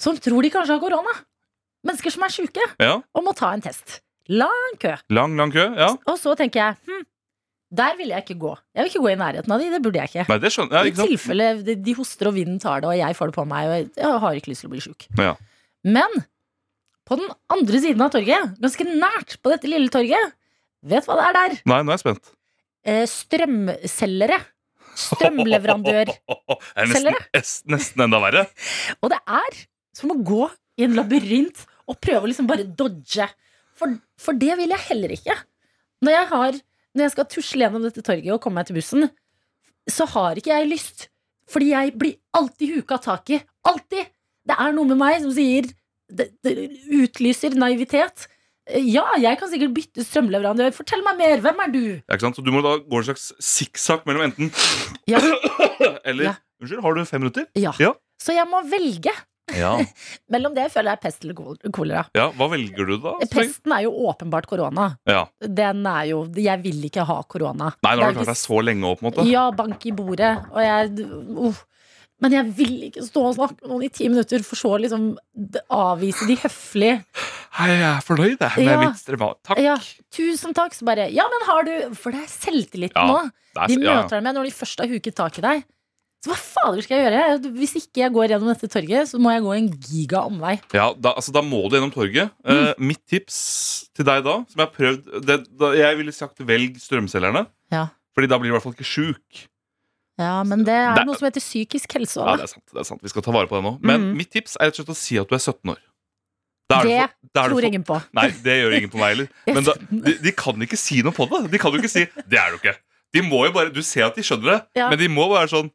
som tror de kanskje har korona. Mennesker som er sjuke Ja. og må ta en test. Lang kø. Lang, lang kø. Ja. Og så tenker jeg hm, der vil jeg ikke gå. Jeg vil ikke gå i nærheten av de, det burde jeg ikke. Nei, det skjønner jeg. I Ikke sant? tilfelle de, de hoster og vinden tar det, og jeg får det på meg, og jeg, jeg har ikke lyst til å bli sjuk. Ja. Men på den andre siden av torget, ganske nært på dette lille torget, vet hva det er der? Nei, nå er jeg spent. Eh, strømselgere. Strømleverandør. Det er nesten, es- nesten enda verre. Og det er som å gå i en labyrint og prøve å liksom bare dodge. For, for det vil jeg heller ikke. Når jeg, har, når jeg skal tusle gjennom dette torget og komme meg til bussen, så har ikke jeg lyst. Fordi jeg blir alltid huka tak i. Alltid! Det er noe med meg som sier det, det utlyser naivitet. Eh, Ja, jeg kan sikkert bytte strømleverandør. Fortell meg mer! Hvem er du? Ja, ikke sant? Så du må da gå en slags sikksakk mellom enten Ja. Eller Ja. Unnskyld, har du fem minutter? Ja. Ja. Så jeg må velge Ja. mellom det jeg føler er pest eller kol- kolera. ja. Hva velger du, da? Pesten er jo åpenbart korona. Ja. den er jo Jeg vil ikke ha korona. Nei, nå har Det er du klart deg ikke- så lenge òg, på en måte. Ja, bank i bordet. Og jeg uff. Men jeg vil ikke stå og snakke med noen i ti minutter, for så liksom d- avvise de høflig. Hei, jeg er fornøyd jeg, med Ja. mitt strømvalg. Takk. Ja, tusen takk, så bare Ja, men har du For det er selvtillit Ja, nå. Det De er, ja, møter deg med når de først har huket tak i deg. Så hva fader skal jeg gjøre? Hvis ikke jeg går gjennom dette torget, så må jeg gå en giga omvei. ja, da, altså, da må du gjennom torget. Eh, Mm. mitt tips til deg da, som jeg har prøvd det, da, Jeg ville sagt velg strømselgerne. Ja. Fordi da blir du i hvert fall ikke sjuk. Ja, men det er Det- noe som heter psykisk helse òg. Ja, det er sant, det er sant. Vi skal ta vare på det nå. Men Mhm. mitt tips er rett og slett å si at du er 17 år. Da er du Det for- da er du Tror for- ingen på. Nei, det gjør ingen på meg heller. Men da, de, de kan ikke si noe på det. De kan jo ikke si 'det er du ikke'. De må jo bare, Du ser at de skjønner det, Ja. men de må være sånn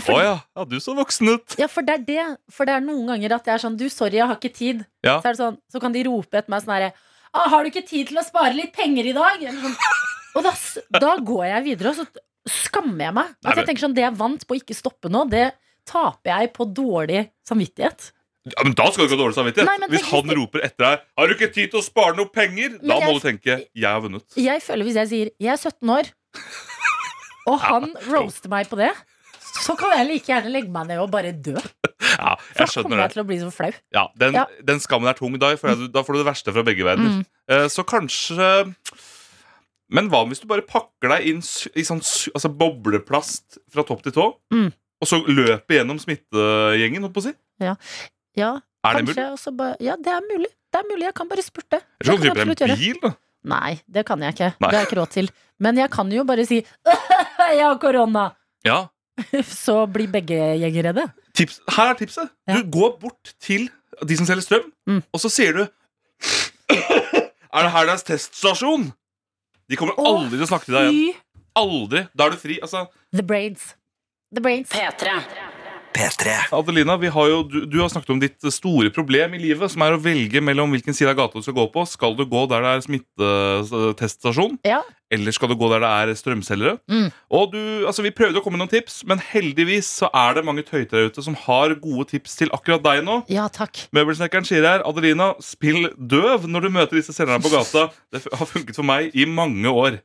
'Å ja, ja, du så voksen ut'. Ja, for det er det. For det er noen ganger at jeg er sånn Du, sorry, jeg har ikke tid. Ja. Så, er det sånn, så kan de rope etter meg sånn herre «Ah, Har du ikke tid til å spare litt penger i dag? Eller sånn. Og da, s- da går jeg videre, og så skammer jeg meg. Nei, At jeg tenker sånn Det jeg vant på å ikke stoppe nå, det taper jeg på dårlig samvittighet. Ja, men Da skal du ikke ha dårlig samvittighet. Nei, men Hvis tenk han hvis- roper etter deg 'Har du ikke tid til å spare noe penger?' Da Men jeg- må du tenke 'Jeg har vunnet'. Jeg føler hvis jeg sier Jeg er 17 år, og han roaster meg på det, så kan jeg like gjerne legge meg ned og bare dø. Ja, For da jeg kommer skjønner jeg det. til å bli så flau. Ja, den, Ja. den skammen er tung. Da, får jeg- da får du det verste fra begge verdener. Mm. Eh, Så kanskje Men hva hvis du bare pakker deg inn sy- i sånn sy- altså bobleplast fra topp til tå, Mm. og så løper gjennom smittegjengen, holdt på å si? Ja, Er det kanskje, mulig? og så bare- Ja, det er mulig. Det er mulig. Jeg kan bare spurte. Jeg Det tror du kan jeg kjøper absolutt gjøre. deg en bil, da. Nei, det kan jeg ikke. Nei. Det har jeg ikke råd til. Men jeg kan jo bare si jeg har korona! Ja. Så blir begge gjenger redde. Tips. Her er tipset. Ja. Du går bort til de som selger strøm, Mm. og så sier du Er det her deres teststasjon? De kommer Å, aldri til å snakke til deg igjen. Aldri. Da er du fri. Altså, The brains. The brains. P3. P3. Adelina, vi har jo, du, du har snakket om ditt store problem i livet, som er å velge mellom hvilken side av gata du skal gå på. Skal du gå der det er smitteteststasjon, Ja. eller skal du gå der det er strømselgere? Mm. Og du, altså Vi prøvde å komme med noen tips, men heldigvis så er det mange tøyter der ute som har gode tips til akkurat deg nå. Ja, takk. Møbelsnekkeren sier her Adelina, spill døv når du møter disse selgerne på gata. Det har funket for meg i mange år.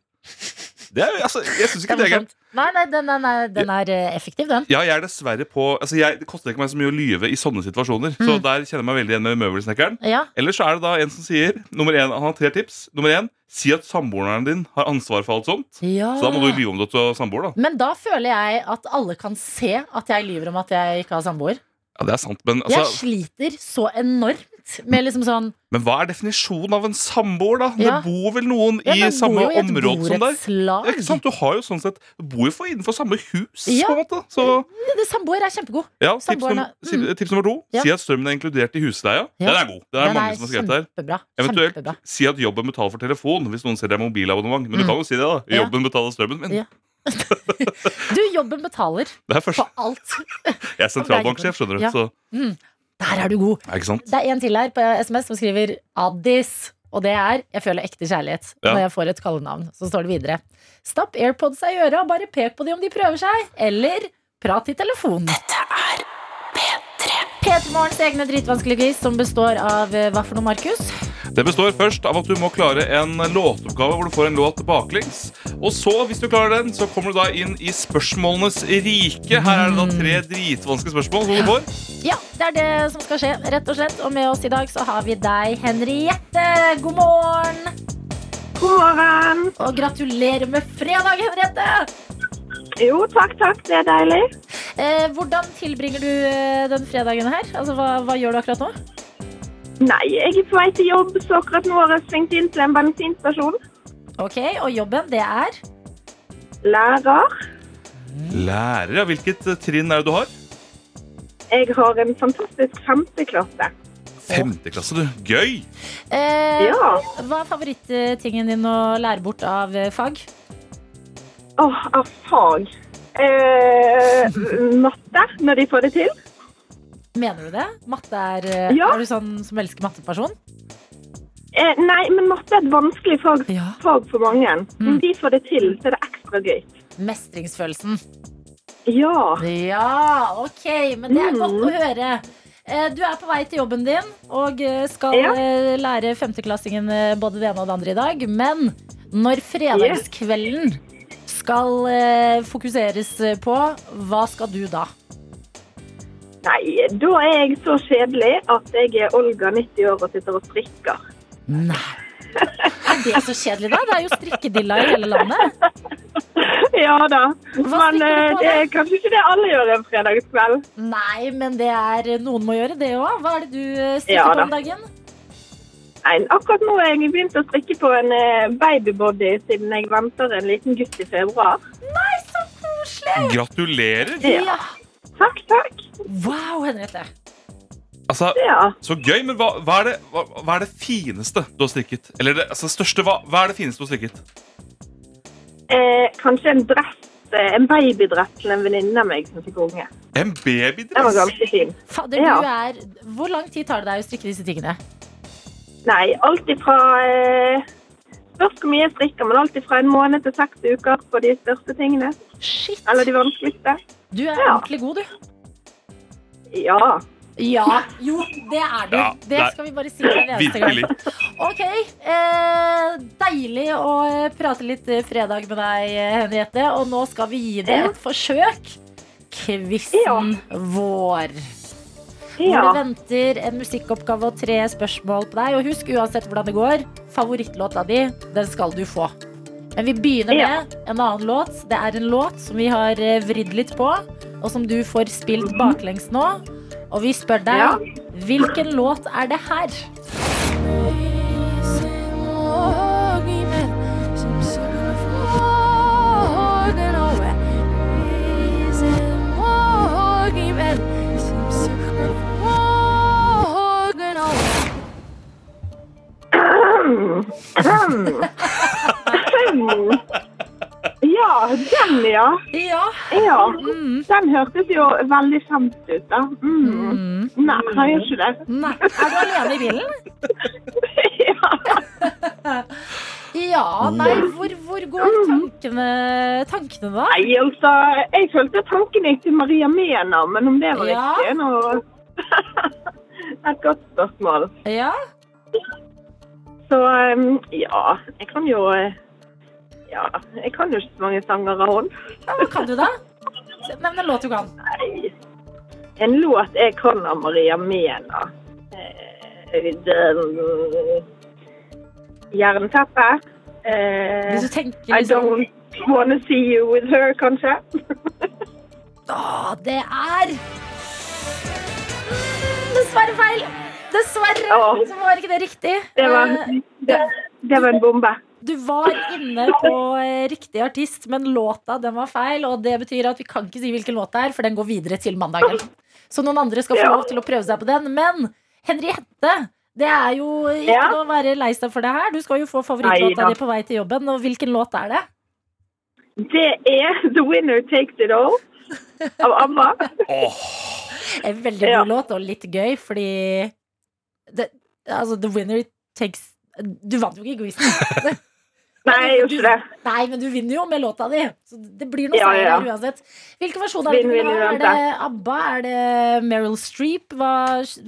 Det er, altså, jeg syns ikke det er gærent. morsomt. Nei, nei, den, den, er, den er eh, effektiv, den. Ja, jeg er dessverre på altså jeg, Det koster ikke meg så mye å lyve i sånne situasjoner. Mm. Så der kjenner jeg meg veldig igjen med møbelsnekkeren. Ja. Eller så er det da en som sier nummer én, Han har tre tips. Nummer én, si at samboeren din har ansvar for alt sånt. ja. Så da må du lyve om det til samboer, da. Men da føler jeg at alle kan se at jeg lyver om at jeg ikke har samboer. Ja, det er sant, men altså jeg sliter så enormt litt med liksom sånn Men hva er definisjonen av en samboer, da? Ja. Det bor vel noen ja, i man samme bor jo i et område som deg? Ja, borettslag. Ikke sant? Du har jo sånn sett Du bor jo for innenfor samme hus, Ja. på en måte. Så Det- det- Samboer er kjempegod. ja, tips, Samboerne- num si- tips nummer to mm. Ja. si at strømmen er inkludert i husleia. Ja. Den er god. Det er mange som har skrevet her. kjempebra. Eventuelt- kjempebra. Si at jobben betaler for telefon hvis noen ser deg mobilabonnement. Men du Mm. kan jo si det, da. Ja. Jobben betaler strømmen min. Ja. Du, jobben betaler Det er først. på alt. Jeg er sentralbanksjef, skjønner du. Ja. Så, Der er du god. ja, ikke sant? Det er en til her på SMS som skriver Addis. Og det er 'Jeg føler ekte kjærlighet' Ja. når jeg får et kallenavn. Så står det videre. Stapp AirPods i øra og bare pek på de om de prøver seg. Eller prat i telefonen. Dette er P3. P3 Morgens egne dritvanskelige quiz som består av eh, hva for noe, Markus? Det består først av at du må klare en låtoppgave hvor du får en låt baklengs. Og så, hvis du klarer den, så kommer du da inn i spørsmålenes rike. Her er det da tre dritvanskelige spørsmål som du får. Ja, det er det som skal skje, rett og slett. Og med oss i dag så har vi deg, Henriette. God morgen. God morgen. Og gratulerer med fredag, Henriette. Jo, takk, takk. Det er deilig. Eh, hvordan tilbringer du eh, den fredagen her? Altså, hva, hva gjør du akkurat nå? Nei, jeg er på vei til jobb, så akkurat nå har jeg svingt inn til en bensinstasjon. Ok, Og jobben, det er Lærer. Mm. Lærer, ja. Hvilket eh, trinn er det du har? Jeg har en fantastisk femteklasse. Femte klasse, du. Gøy! eh, Ja. Hva er favorittingen din å lære bort av eh, fag? Åh, av fag. Eh, matte, når de får det til. Mener du det? Matte Er, eh, Ja. er du sånn som elsker matteperson? Eh, nei, men matte er et vanskelig fag, Ja. fag for mange. Når de får det til, så er det ekstra gøy. Mestringsfølelsen. Ja. Ja, ok, men det er Mm. godt å høre. Eh, Du er på vei til jobben din og eh, skal Ja. eh, lære femteklassingen eh, både det ene og det andre i dag. Men når fredagskvelden skal eh, fokuseres på, hva skal du da? Nei, da er jeg så kjedelig at jeg er Olga, 90 år, og sitter og strikker. Nei. Er det så kjedelig, da? Det er jo strikkedilla i hele landet. Ja da. Hva strikker Men du eh, på, det da? er kanskje ikke det alle gjør en fredagskveld. Nei, men det er eh, noen må gjøre det òg. Hva er det du eh, strikker Ja, på da. om dagen? Nei, akkurat nå har jeg begynt å strikke på en eh, babybody siden jeg venter en liten gutt i februar. Gratulerer! Ja. Takk, takk. Wow, Henriette. Altså, Ja. Så gøy, men hva, hva, er det, hva, hva er det fineste du har strikket? Eller det altså, største, hva, hva er det fineste du har strikket? Eh, kanskje en dress, eh, en babydress til en venninne av meg som fikk unge. En Den var babydress? ganske fin. Fader, Ja. du er Hvor lang tid tar det deg å strikke disse tingene? Nei, alt ifra eh, Spørs hvor mye jeg strikker, men alt ifra en måned til seks uker på de største tingene. Shit! Eller de vanskeligste. Du er Ja. ordentlig god, du. Ja. Ja, jo, det er du. Ja, det nei. skal vi bare si hver eneste gang. Virkelig. Ok, eh, deilig å eh, prate litt eh, fredag med deg, eh, Henriette. Og nå skal vi gi det et forsøk. Quizen vår. Hvor ja. det venter en musikkoppgave og tre spørsmål på deg. Og husk, uansett hvordan det går, favorittlåta di, den skal du få. Men vi begynner Ja. med en annen låt. Det er en låt som vi har eh, vridd litt på, og som du får spilt baklengs nå. Og vi spør deg, Ja. hvilken låt er det her? Hmm. Ja, den, ja. Ja. Ja. Den hørtes jo veldig kjent ut, da. Mm. Nei, han gjør ikke det. Nei. Er du alene i bilen? ja. Ja, nei, hvor, hvor går tankene, tankene da? Nei, altså, jeg følte tanken gikk til Maria Mena, men om det var Ja. riktig nå Et godt spørsmål. Ja. Så um, ja, jeg kan jo eh, Ja, jeg kan jo ikke så mange sanger av henne. ja, hva kan du da? Nevn en låt du kan. Nei. En låt jeg kan av Maria Mena. Eh, den- Jernteppe. Eh, Hvis du tenker I liksom don't wanna see you with her, kanskje. Å, det er Dessverre feil. Dessverre Åh. så var ikke det riktig. Det var, Eh, det, det var en bombe. Du var inne på eh, riktig artist, men låta den var feil. Og det betyr at vi kan ikke si hvilken låt det er, for den går videre til mandagen. Så noen andre skal få Ja. lov til å prøve seg på den. Men Henriette, det er jo ikke Ja. noe å være lei seg for det her. Du skal jo få favorittlåta Neida. di på vei til jobben. Og hvilken låt er det? Det er The Winner Takes It All av ABBA. En veldig Ja. god låt, og litt gøy, fordi det, Altså, The Winner Takes Du vant jo ikke quizen. Nei, jeg gjorde ikke det. Nei, men du vinner jo med låta di. Så det blir noe Ja, seier ja. her uansett. Hvilken versjon er det du Vinn, vil ha? Er vinn det ABBA? Er det Meryl Streep? Hva,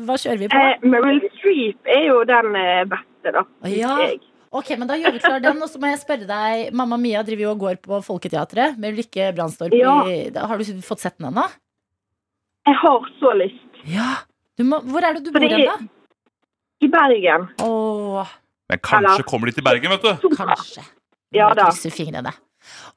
hva kjører vi på? Eh, Meryl Streep er jo den eh, beste, da. Å, ja. synes jeg. Ok, men da gjør vi klar den, og så må jeg spørre deg Mamma Mia driver jo og går på Folketeatret med Ulrikke Brandstorp. Ja. i- Har du fått sett den ennå? Jeg har så lyst. Ja. Du må, hvor er det du bor Fordi- hen, da? I Bergen. Åh, Men kanskje kommer de til Bergen, vet du. kanskje. Ja Jeg da. krysser fingrene.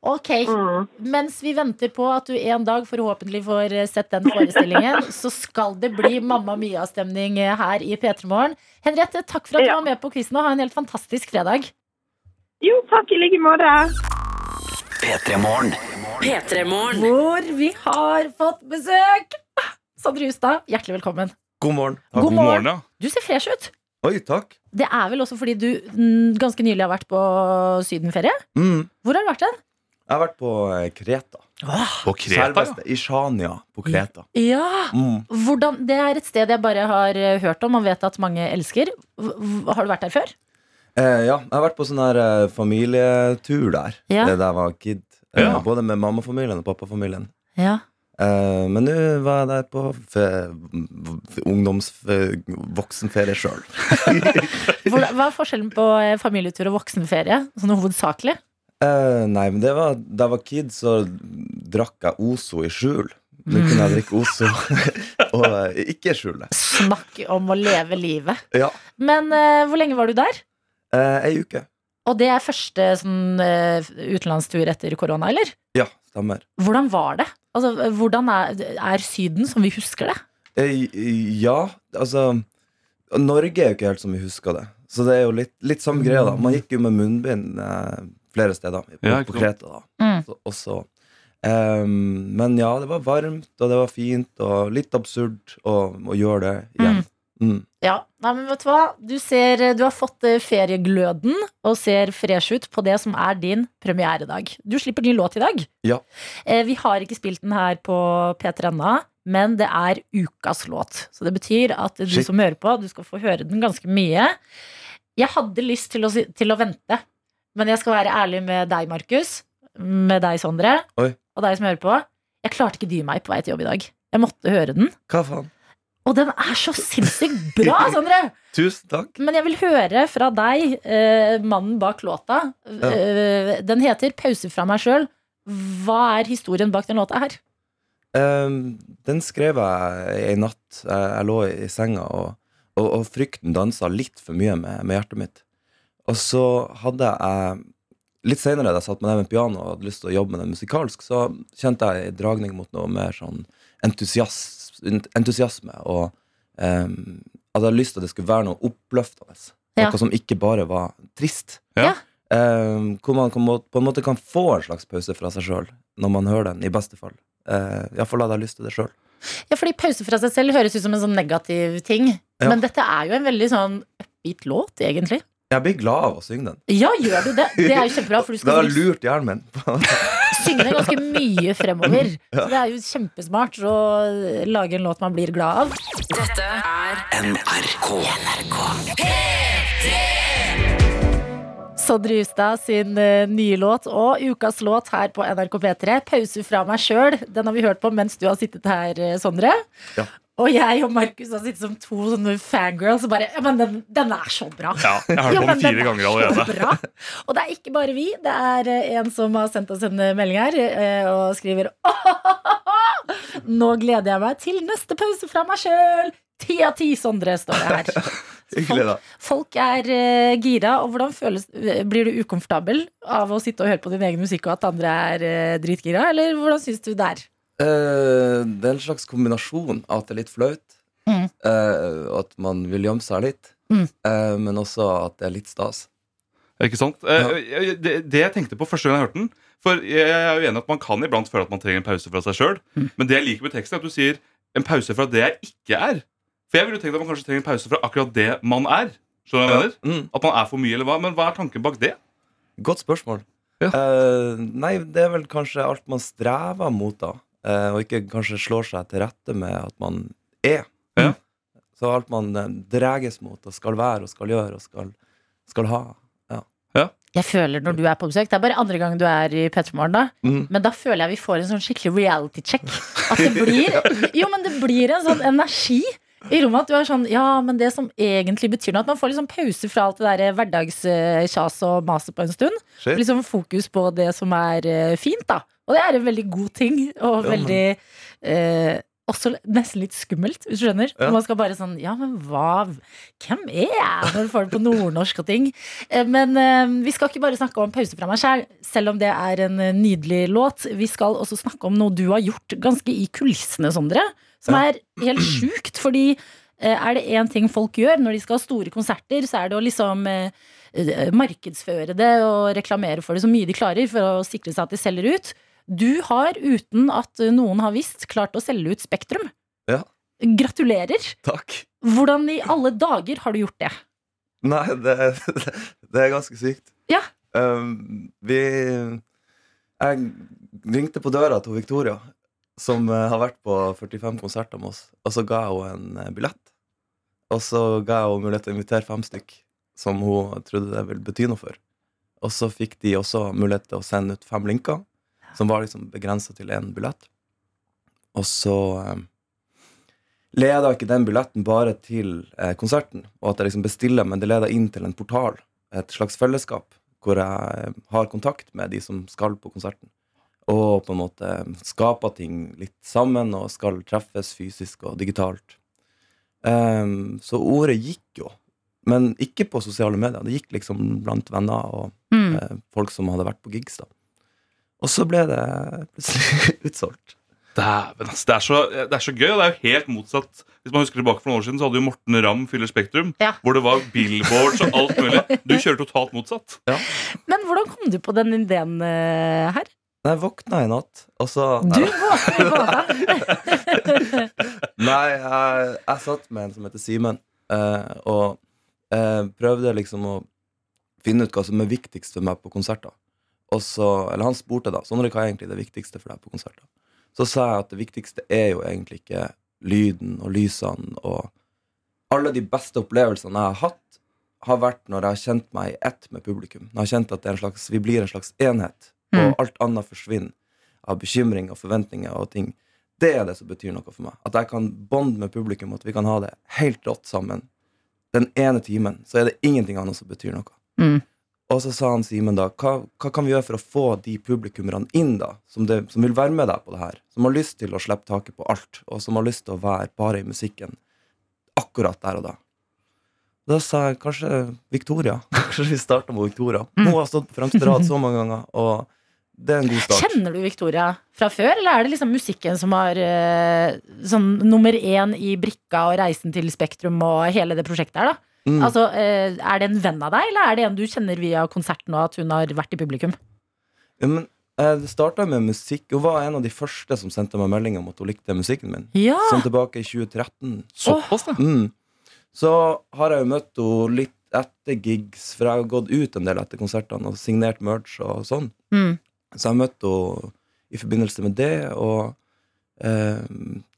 Ok, Mm. Mens vi venter på at du en dag forhåpentlig får eh, sett den forestillingen, så skal det bli Mamma Mia-stemning eh, her i P3 Morgen. Henriette, takk for at du Ja. var med på quizen, og ha en helt fantastisk fredag. Jo, takk i like måte. P3-morgen. P3-morgen. Hvor vi har fått besøk! Sondre Justad, hjertelig velkommen. God morgen. God God morgen, ja. Du ser fresh ut. Oi, takk. Det er vel også fordi du mm, ganske nylig har vært på sydenferie. Mm. Hvor har du vært hen? Jeg har vært på eh, Kreta. På Kreta, ja. Selveste Ishania på Kreta. Ja, Mm. hvordan, Det er et sted jeg bare har eh, hørt om og vet at mange elsker. Hv- hv- Har du vært der før? Eh, ja, jeg har vært på sånn her eh, familietur der Ja. eh, da jeg var kid. Eh, Ja. Både med mammafamilien og pappafamilien. Ja. Eh, men nå var jeg der på fe, v- ungdoms... Fe, voksenferie sjøl. Hvor, hva er forskjellen på eh, familietur og voksenferie? Sånn hovedsakelig? Eh, nei, men det var, da jeg var kid, så drakk jeg Ozo i skjul. Nå kunne jeg drikke Ozo og eh, ikke skjule. Mm. Snakk om å leve livet. Ja. Men eh, hvor lenge var du der? Uh, ei uke. Og det er første sånn, eh, utenlandstur etter korona, eller? Ja, stemmer. Hvordan var det? Altså, eh, hvordan er, er Syden som vi husker det? Eh, Ja, altså Norge er jo ikke helt som vi husker det. Så det er jo litt, litt samme greia, da. Man gikk jo med munnbind eh, flere steder på, Ja, ikke på sant. Kreta. da Mm. så, også. Ehm, Men ja, det var varmt, og det var fint, og litt absurd å, å gjøre det igjen. Mm. Ja, nei, men vet Du hva? Du, ser, eh, du har fått eh, feriegløden og ser fresh ut på det som er din premieredag. Du slipper ny låt i dag. Ja. Eh, Vi har ikke spilt den her på P3 ennå, men det er ukas låt. Så det betyr at du Shit. som hører på, du skal få høre den ganske mye. Jeg hadde lyst til å, si- til å vente, men jeg skal være ærlig med deg, Markus, med deg, Sondre, Oi. og deg som hører på. Jeg klarte ikke dy meg på vei til jobb i dag. Jeg måtte høre den. Hva faen? Og den er så sinnssykt bra, Sondre! Tusen takk. Men jeg vil høre fra deg, eh, mannen bak låta. Eh, den heter 'Pause fra meg sjøl'. Hva er historien bak den låta her? Ehm, den skrev jeg ei natt. Eh, Jeg lå i senga, og, og, og frykten dansa litt for mye med, med hjertet mitt. Og så hadde jeg Litt seinere, da jeg satt meg ned med piano og hadde lyst til å jobbe med det musikalsk, så kjente jeg en dragning mot noe mer sånn entusias, entusiasme. Og ehm, at jeg hadde lyst til at det skulle være noe oppløftende. Ja. Noe som ikke bare var trist. Ja. Ehm, hvor man kan, må- på en måte kan få en slags pause fra seg sjøl når man hører den, i beste fall. Uh, Iallfall hadde jeg lyst til det sjøl. Ja, fordi pause fra seg selv høres ut som en sånn negativ ting. Ja. Men dette er jo en veldig sånn upbeat låt, egentlig. Jeg blir glad av å synge den. Ja, gjør du det? Det er jo kjempebra, for du Det skal har lurt hjernen min. synge ganske mye fremover. Så det er jo kjempesmart å lage en låt man blir glad av. Dette er NRK. Sondre Justad sin eh, nye låt og ukas låt her på NRK P3. 'Pause fra meg sjøl'. Den har vi hørt på mens du har sittet her, eh, Sondre. Ja. Og jeg og Markus har sittet som to sånne fangirls og bare Ja, men den, den er så bra. ja. Jeg har hørt Ja, på men den fire er ganger så allerede. bra. Og det er ikke bare vi. Det er eh, en som har sendt oss en eh, melding her eh, og skriver Nå gleder jeg meg til neste pause fra meg sjøl. Ti av ti, Sondre, står det her. Hyggelig, da. Folk er eh, gira, og hvordan føles, eh, blir du ukomfortabel av å sitte og høre på din egen musikk og at andre er eh, dritgira, eller hvordan syns du det er? Eh, det er en slags kombinasjon av at det er litt flaut, Mm. Eh, og at man vil gjemme seg litt. Mm. Eh, men også at det er litt stas. Ikke sant? Eh, jeg- Det, det jeg tenkte på første gang jeg hørte den For jeg er jo enig at man kan iblant føle at man trenger en pause fra seg sjøl. Men det jeg liker med teksten, er at du sier en pause fra det jeg ikke er. For jeg ville tenkt at man kanskje trenger en pause fra akkurat det man er. Skjønner du hva jeg mener? Mm. At man er for mye, eller hva? Men hva er tanken bak det? Godt spørsmål. Ja. Eh, nei, det er vel kanskje alt man strever mot, da. Eh, og ikke kanskje slår seg til rette med at man er. Mm. Ja. Så alt man eh, dreges mot og skal være og skal gjøre og skal, skal ha. Jeg føler når du er på besøk Det er bare andre gang du er i Petremorgen da Mm. Men da føler jeg vi får en sånn skikkelig reality check At det blir Jo, men det blir en sånn energi i rommet at du er sånn, ja, men det som egentlig betyr noe At man får liksom pause fra alt det der Hverdagskjas og maset på en stund Shit. Liksom fokus på det som er eh, fint da Og det er en veldig god ting Og Ja, men- veldig eh, Også nesten litt skummelt, hvis du skjønner Ja. Man skal bare sånn, ja, men hva Hvem er jeg når du får det på nordnorsk og ting Eh, Men eh, vi skal ikke bare snakke om pause fra meg selv Selv om det er en eh, nydelig låt Vi skal også snakke om noe du har gjort Ganske i kulissene, Sondre Som Ja. er helt sykt Fordi eh, er det en ting folk gjør Når de skal ha store konserter Så er det å liksom eh, eh, markedsføre det Og reklamere for det så mye de klarer For å sikre seg at de selger ut Du har, uten at noen har visst Klart å selge ut Spektrum Ja. Gratulerer Takk. Hvordan i alle dager har du gjort det? Nei, det, det er ganske sykt. Ja. Um, vi Jeg ringte på døra til Victoria, som eh, har vært på 45 konserter med oss, og så ga hun en eh, billett. Og så ga jeg henne mulighet til å invitere fem stykk som hun trodde det ville bety noe for. Og så fikk de også mulighet til å sende ut fem linker, som var liksom begrensa til én billett. Og så um, leda ikke den billetten bare til eh, konserten, og at jeg liksom bestiller, men det leda inn til en portal, et slags fellesskap, hvor jeg eh, har kontakt med de som skal på konserten. Og på en måte eh, skaper ting litt sammen, og skal treffes fysisk og digitalt. Ehm, så ordet gikk jo, men ikke på sosiale medier. Det gikk liksom blant venner og Mm. eh, folk som hadde vært på gigs, da. Og så ble det plutselig utsolgt. Dæven, ass. Det er, så, det er så gøy, og det er jo helt motsatt. Hvis man husker tilbake for noen år siden, så hadde jo Morten Ramm fyller Spektrum. Ja. Hvor det var billboards og alt mulig. Du kjører totalt motsatt. Men hvordan kom du på den ideen eh, her? Nei, Jeg våkna i natt, og så Du våkner i båten! Nei, jeg, jeg satt med en som heter Simen, eh, og eh, prøvde liksom å finne ut hva som er viktigst for meg på konserter. Og så, eller han spurte da Sondre, hva er egentlig det viktigste for deg på konserter. Så sa jeg at det viktigste er jo egentlig ikke lyden og lysene og Alle de beste opplevelsene jeg har hatt, har vært når jeg har kjent meg i ett med publikum. Når jeg har kjent at det er en slags, vi blir en slags enhet, og alt annet forsvinner av bekymring og forventninger og ting. Det er det som betyr noe for meg. At jeg kan bonde med publikum, at vi kan ha det helt rått sammen. Den ene timen så er det ingenting annet som betyr noe. Mm. Og så sa han Simen da, hva, hva kan vi gjøre for å få de publikummerne inn, da, som, det, som vil være med deg på det her? Som har lyst til å slippe taket på alt, og som har lyst til å være bare i musikken akkurat der og da. Da sa jeg kanskje Victoria. Kanskje vi starter med Victoria. Hun har stått på fremste rad så mange ganger, og det er en god start. Kjenner du Victoria fra før, eller er det liksom musikken som har eh, sånn nummer én i brikka og reisen til Spektrum og hele det prosjektet her, da? Mm. Altså, eh, er det en venn av deg, eller er det en du kjenner via konserten og at hun har vært i publikum? Ja, men eh, Det starta med musikk. Hun var en av de første som sendte meg melding om at hun likte musikken min. Ja! Sånn tilbake i 2013. Såpass, da. Mm. Så har jeg jo møtt henne litt etter gigs, for jeg har gått ut en del etter konsertene og signert merch og sånn. Mm. Så jeg møtte henne i forbindelse med det, og eh,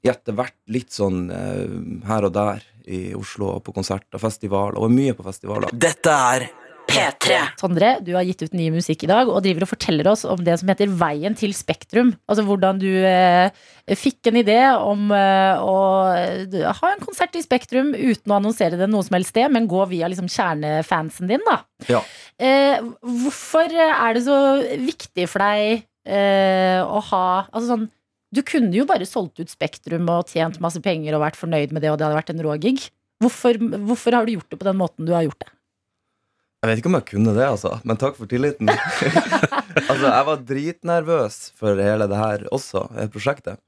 i etter hvert litt sånn eh, her og der i Oslo og på konserter, festivaler. Og mye på festivaler. Dette er P3. Sondre, du har gitt ut ny musikk i dag og driver og forteller oss om det som heter Veien til Spektrum. Altså hvordan du eh, fikk en idé om eh, å eh, ha en konsert i Spektrum uten å annonsere det noe som helst sted, men gå via liksom, kjernefansen din, da. Ja. Eh, hvorfor er det så viktig for deg eh, å ha Altså sånn Du kunne jo bare solgt ut Spektrum og tjent masse penger og vært fornøyd med det, og det hadde vært en rå gig. Hvorfor, hvorfor har du gjort det på den måten du har gjort det? Jeg vet ikke om jeg kunne det, altså, men takk for tilliten. altså, Jeg var dritnervøs for hele det her også, eh, prosjektet.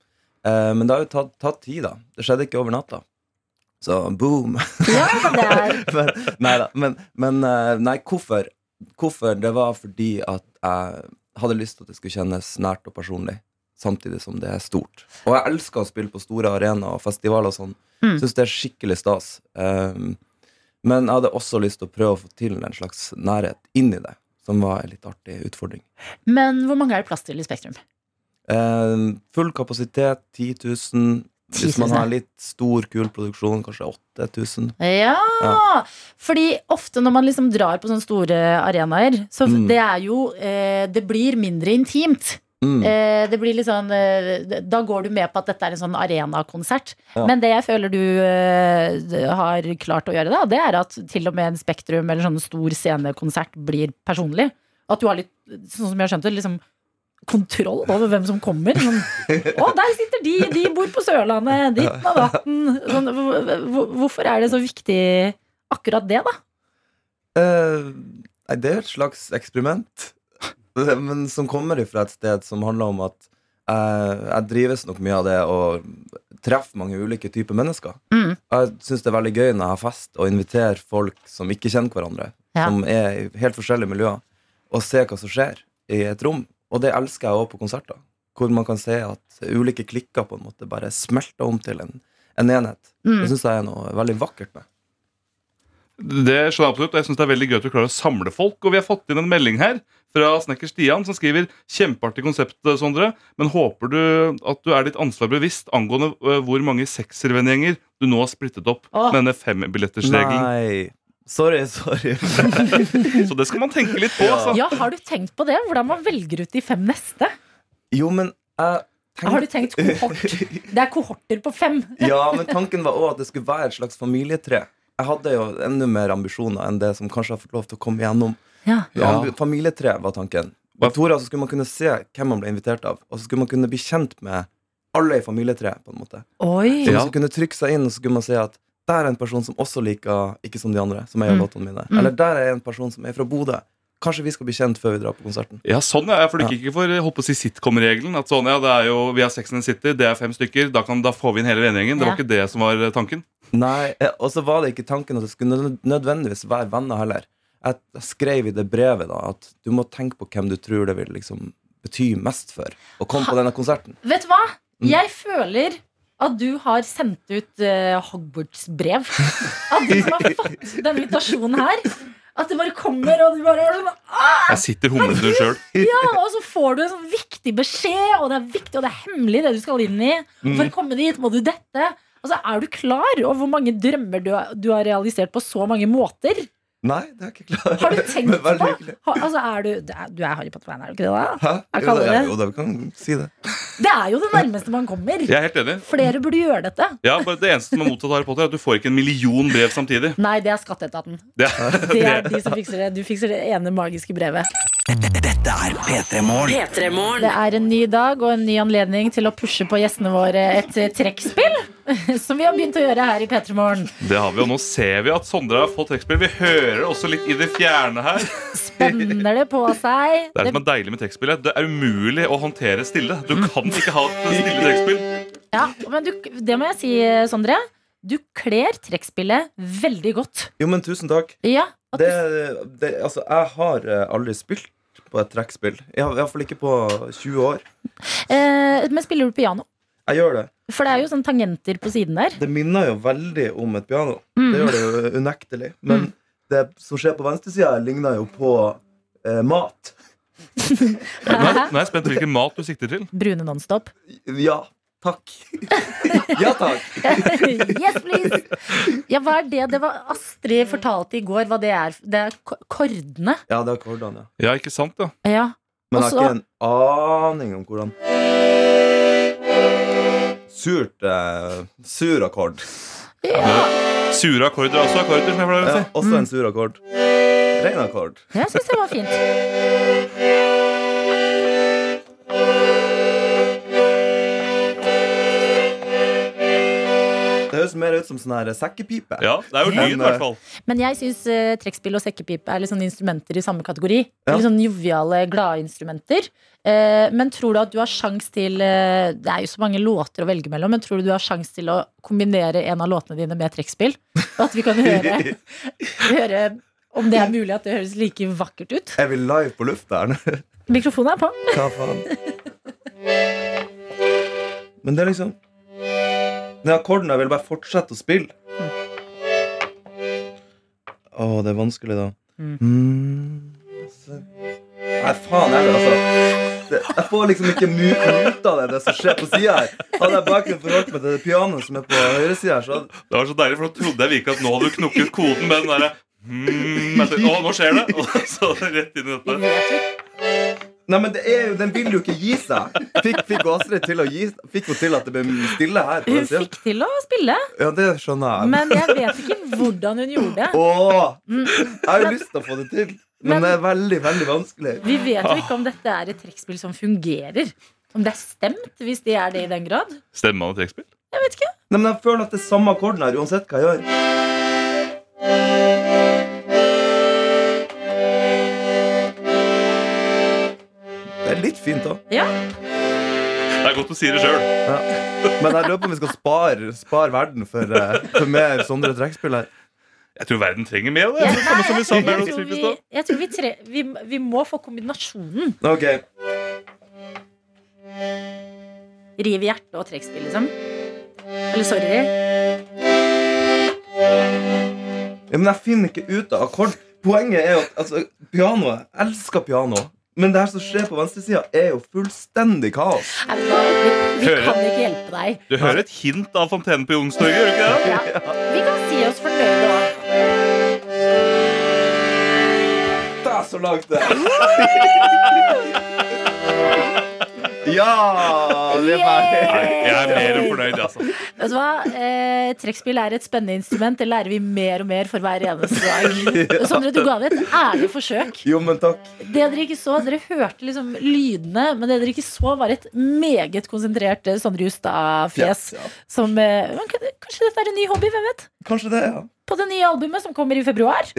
Eh, men det har jo tatt, tatt tid, da. Det skjedde ikke over natta. Så boom! Ja, det er men, nei da. Men, men eh, nei, hvorfor? Hvorfor? Det var fordi at jeg hadde lyst til at det skulle kjennes nært og personlig. Samtidig som det er stort. Og jeg elsker å spille på store arenaer og festivaler og sånn. Mm. Syns det er skikkelig stas. Um, men jeg hadde også lyst til å prøve å få til en slags nærhet inni det, som var en litt artig utfordring. Men hvor mange er det plass til i Spektrum? Um, full kapasitet 10 000. Hvis 10 000, man ja. har litt stor, kul produksjon, kanskje 8000. Ja, fordi ofte når man liksom drar på sånne store arenaer, så Mm. det er jo eh, Det blir mindre intimt. Mm. Eh, det blir litt sånn eh, Da går du med på at dette er en sånn arenakonsert. Ja. Men det jeg føler du eh, har klart å gjøre, da, det er at til og med en Spektrum eller sånn stor scenekonsert blir personlig. At du har litt, sånn som jeg har skjønt det, liksom kontroll over hvem som kommer. Sånn, å, der sitter de! De bor på Sørlandet! Ditten og datten! Sånn, hvor- hvor- hvorfor er det så viktig akkurat det, da? Eh, Nei, det er et slags eksperiment. Det- Men som kommer ifra et sted som handler om at eh, jeg drives nok mye av det å treffe mange ulike typer mennesker. Mm. Jeg syns det er veldig gøy når jeg har fest og inviterer folk som ikke kjenner hverandre, Ja. som er i helt forskjellige miljøer, og se hva som skjer i et rom. Og det elsker jeg òg på konserter, hvor man kan se at ulike klikker på en måte bare smelter om til en, en enhet. Mm. Det syns jeg er noe veldig vakkert med. Det skjønner jeg absolutt, og jeg synes det er veldig gøy at du klarer å samle folk. Og vi har fått inn en melding her fra snekker Stian, som skriver kjempeartig konsept, Sondre, men håper du at du er ditt ansvar bevisst angående ø, hvor mange sekservennegjenger du nå har splittet opp Åh. med denne fembillettersregelen. Nei. Sorry, sorry. Så det skal man tenke litt på, altså. Ja, har du tenkt på det? Hvordan man velger ut de fem neste? Jo, men jeg tenkte- Har du tenkt kohort? Det er kohorter på fem. ja, men tanken var òg at det skulle være et slags familietre. Jeg hadde jo enda mer ambisjoner enn det som kanskje har fått lov til å komme gjennom. Ja. Ja. Ambi- Familietre var tanken. På Tora så skulle man kunne se hvem man ble invitert av, og så skulle man kunne bli kjent med alle i familietreet, på en måte. Oi. Så man Ja. skulle kunne trykke seg inn, og så kunne man se at der er en person som også liker Ikke som de andre, som jeg Mm. gjør låtene mine. Mm. Eller der er en person som er fra Bodø. Kanskje vi skal bli kjent før vi drar på konserten. Ja, sånn ja, for det gikk ikke for jeg holdt på å si sitcom-regelen. At sånn, ja, det er jo, Vi har Sex and the City, det er fem stykker. Da, kan, da får vi inn hele vennegjengen. Det Ja. var ikke det som var eh, tanken. Nei, eh, og så var det ikke tanken at det skulle nød- nødvendigvis være venner heller. Jeg jeg skrev i det brevet da at du må tenke på hvem du tror det vil liksom bety mest for å komme på denne konserten. Vet du hva? Mm. Jeg føler at du har sendt ut eh, Hogwarts-brev. At du som har fått denne invitasjonen her. At det bare kommer, og du bare Jeg sitter humlende sjøl. Ja, og så får du en sånn viktig beskjed, og det er viktig, og det er hemmelig, det du skal inn i. Mm. Og For å komme dit må du dette. Altså, Er du klar over hvor mange drømmer du, har- du har realisert på så mange måter? Nei, det er jeg ikke klar Har du tenkt Men på veldig det? hyggelig. Har- Altså, er du, det er- du er Harry Potter-fan, er du ikke det? da? Hæ? Jeg Jo, kaller da, det- jo, da, vi kan si det. Det er jo det nærmeste man kommer. Jeg er helt enig. Flere burde gjøre dette. Ja, bare Det eneste som er motsatt av Harry Potter, er at du får ikke en million brev samtidig. Nei, det er Skatteetaten. Det, Det er de som fikser det. Du fikser det ene magiske brevet. Dette er P3 Morgen. P3 Det Morgen. er en ny dag og en ny anledning til å pushe på gjestene våre et eh, trekkspill. Som vi har begynt å gjøre her i P3 Morgen. det har vi, og nå ser vi at Sondre har fått trekkspill. Vi hører det også litt i det fjerne her. Det Spenner det på seg. er det som er deilig med trekkspillet. Det er umulig å håndtere stille. Du kan ikke ha et stille trekkspill. Ja, men du, det må jeg si, Sondre. Du kler trekkspillet veldig godt. Jo, men tusen takk. Ja, at Det, du, det, altså, jeg har eh, aldri spilt på et trekkspill. I hvert fall ikke på 20 år. eh, men spiller du piano? Jeg gjør det. For det er jo sånne tangenter på siden der. Det minner jo veldig om et piano. Det Mm. gjør det jo unektelig. Men det som skjer på venstresida, ligner jo på eh, mat. Nå er, nå er jeg spent på hvilken mat du sikter til. Brune Nonstop. Ja, takk. ja takk. yes, please! Ja, hva er det? Det var Astrid fortalte i går hva det er. Det er ko- kordene. Ja, det er akkordene, ja. Ja, ikke sant, ja. Ja. Men jeg Også- har ikke en aning om hvordan Surt eh, Sur akkord. Sure akkorder er også akkorder, som jeg pleier å Ja, si. Eh, også en sur akkord. Ren akkord. Jeg syns det var fint. Det høres høres mer ut som sånn her sekkepipe. Ja, det er jo lyd, i hvert fall. Men jeg syns eh, trekkspill og sekkepipe er litt sånn instrumenter i samme kategori. Ja. Litt sånn joviale, glade instrumenter. Eh, men tror du at du har sjans til eh, Det er jo så mange låter å velge mellom, men tror du du har sjans til å kombinere en av låtene dine med trekkspill? Og at vi kan høre, høre om det er mulig at det høres like vakkert ut? Er vi live på lufta her nå? Mikrofonen er på. Hva faen? Men det er liksom Den akkorden der vil bare fortsette å spille. Å, det er vanskelig, da. Mm. Mm. altså. Nei, faen heller, altså. Det, jeg får liksom ikke mu ut av det, det som skjer på sida her. Hadde jeg bakgrunn forholdt meg til det pianoet som er på høyresida her, så hadde Det var så deilig, for nå trodde jeg virkelig at nå hadde du knukket koden med den derre mm, jeg tenkte, Å, nå skjer det! Og så rett inn i dette. Nei, men det er jo, den vil jo ikke gi seg. Fikk, fikk Astrid til å gi Fikk hun til at det ble stille her? På Hun den siden? fikk til å spille, Ja, det skjønner jeg. men jeg vet ikke hvordan hun gjorde det. Åh, jeg har jo lyst til å få det til, men, Men- det er veldig veldig vanskelig. Vi vet jo ikke om dette er et trekkspill som fungerer. Om det er stemt, hvis det er det i den grad. Stemmer man i trekkspill? Jeg vet ikke. Nei, men Jeg føler at det er samme akkorden her uansett hva jeg gjør. Det er litt fint, da. Det er godt du sier det sjøl. Ja. Men jeg lurer på om vi skal spare, spare verden for, eh, for mer sånne trekkspill her. Jeg tror verden trenger mer av det. Ja, Det samme som vi sa Jeg med Meryl tror Streep i vi, stad. jeg tror vi, tre, vi, vi må få kombinasjonen. Ok, Riv i hjertet og trekkspill, liksom. Eller sorry. Ja, men jeg finner ikke ut av akkord. Poenget er jo at altså, pianoet jeg elsker piano. Men det her som skjer på venstresida, er jo fullstendig kaos. Nei, vet du hva? Vi, vi Hører. kan ikke hjelpe deg. Du hører et hint av Fontenen på Youngstorget, gjør du ikke det? Ja. Vi kan si oss fornøyde òg. Det er så langt, det! Ja! Vi er Nei, ferdig. jeg er mer enn fornøyd, altså. Vet du hva? Eh, trekkspill er et spennende instrument. Det lærer vi mer og mer for hver eneste dag. Og Sondre, du ga det et ærlig forsøk. Jo, men takk. Det dere ikke så, dere hørte liksom lydene, men det dere ikke så, var et meget konsentrert eh, Sondre Justad-fjes. Ja, ja. Som eh, men kan- Kanskje dette er en ny hobby, hvem vet? Kanskje det, ja. På det nye albumet som kommer i februar.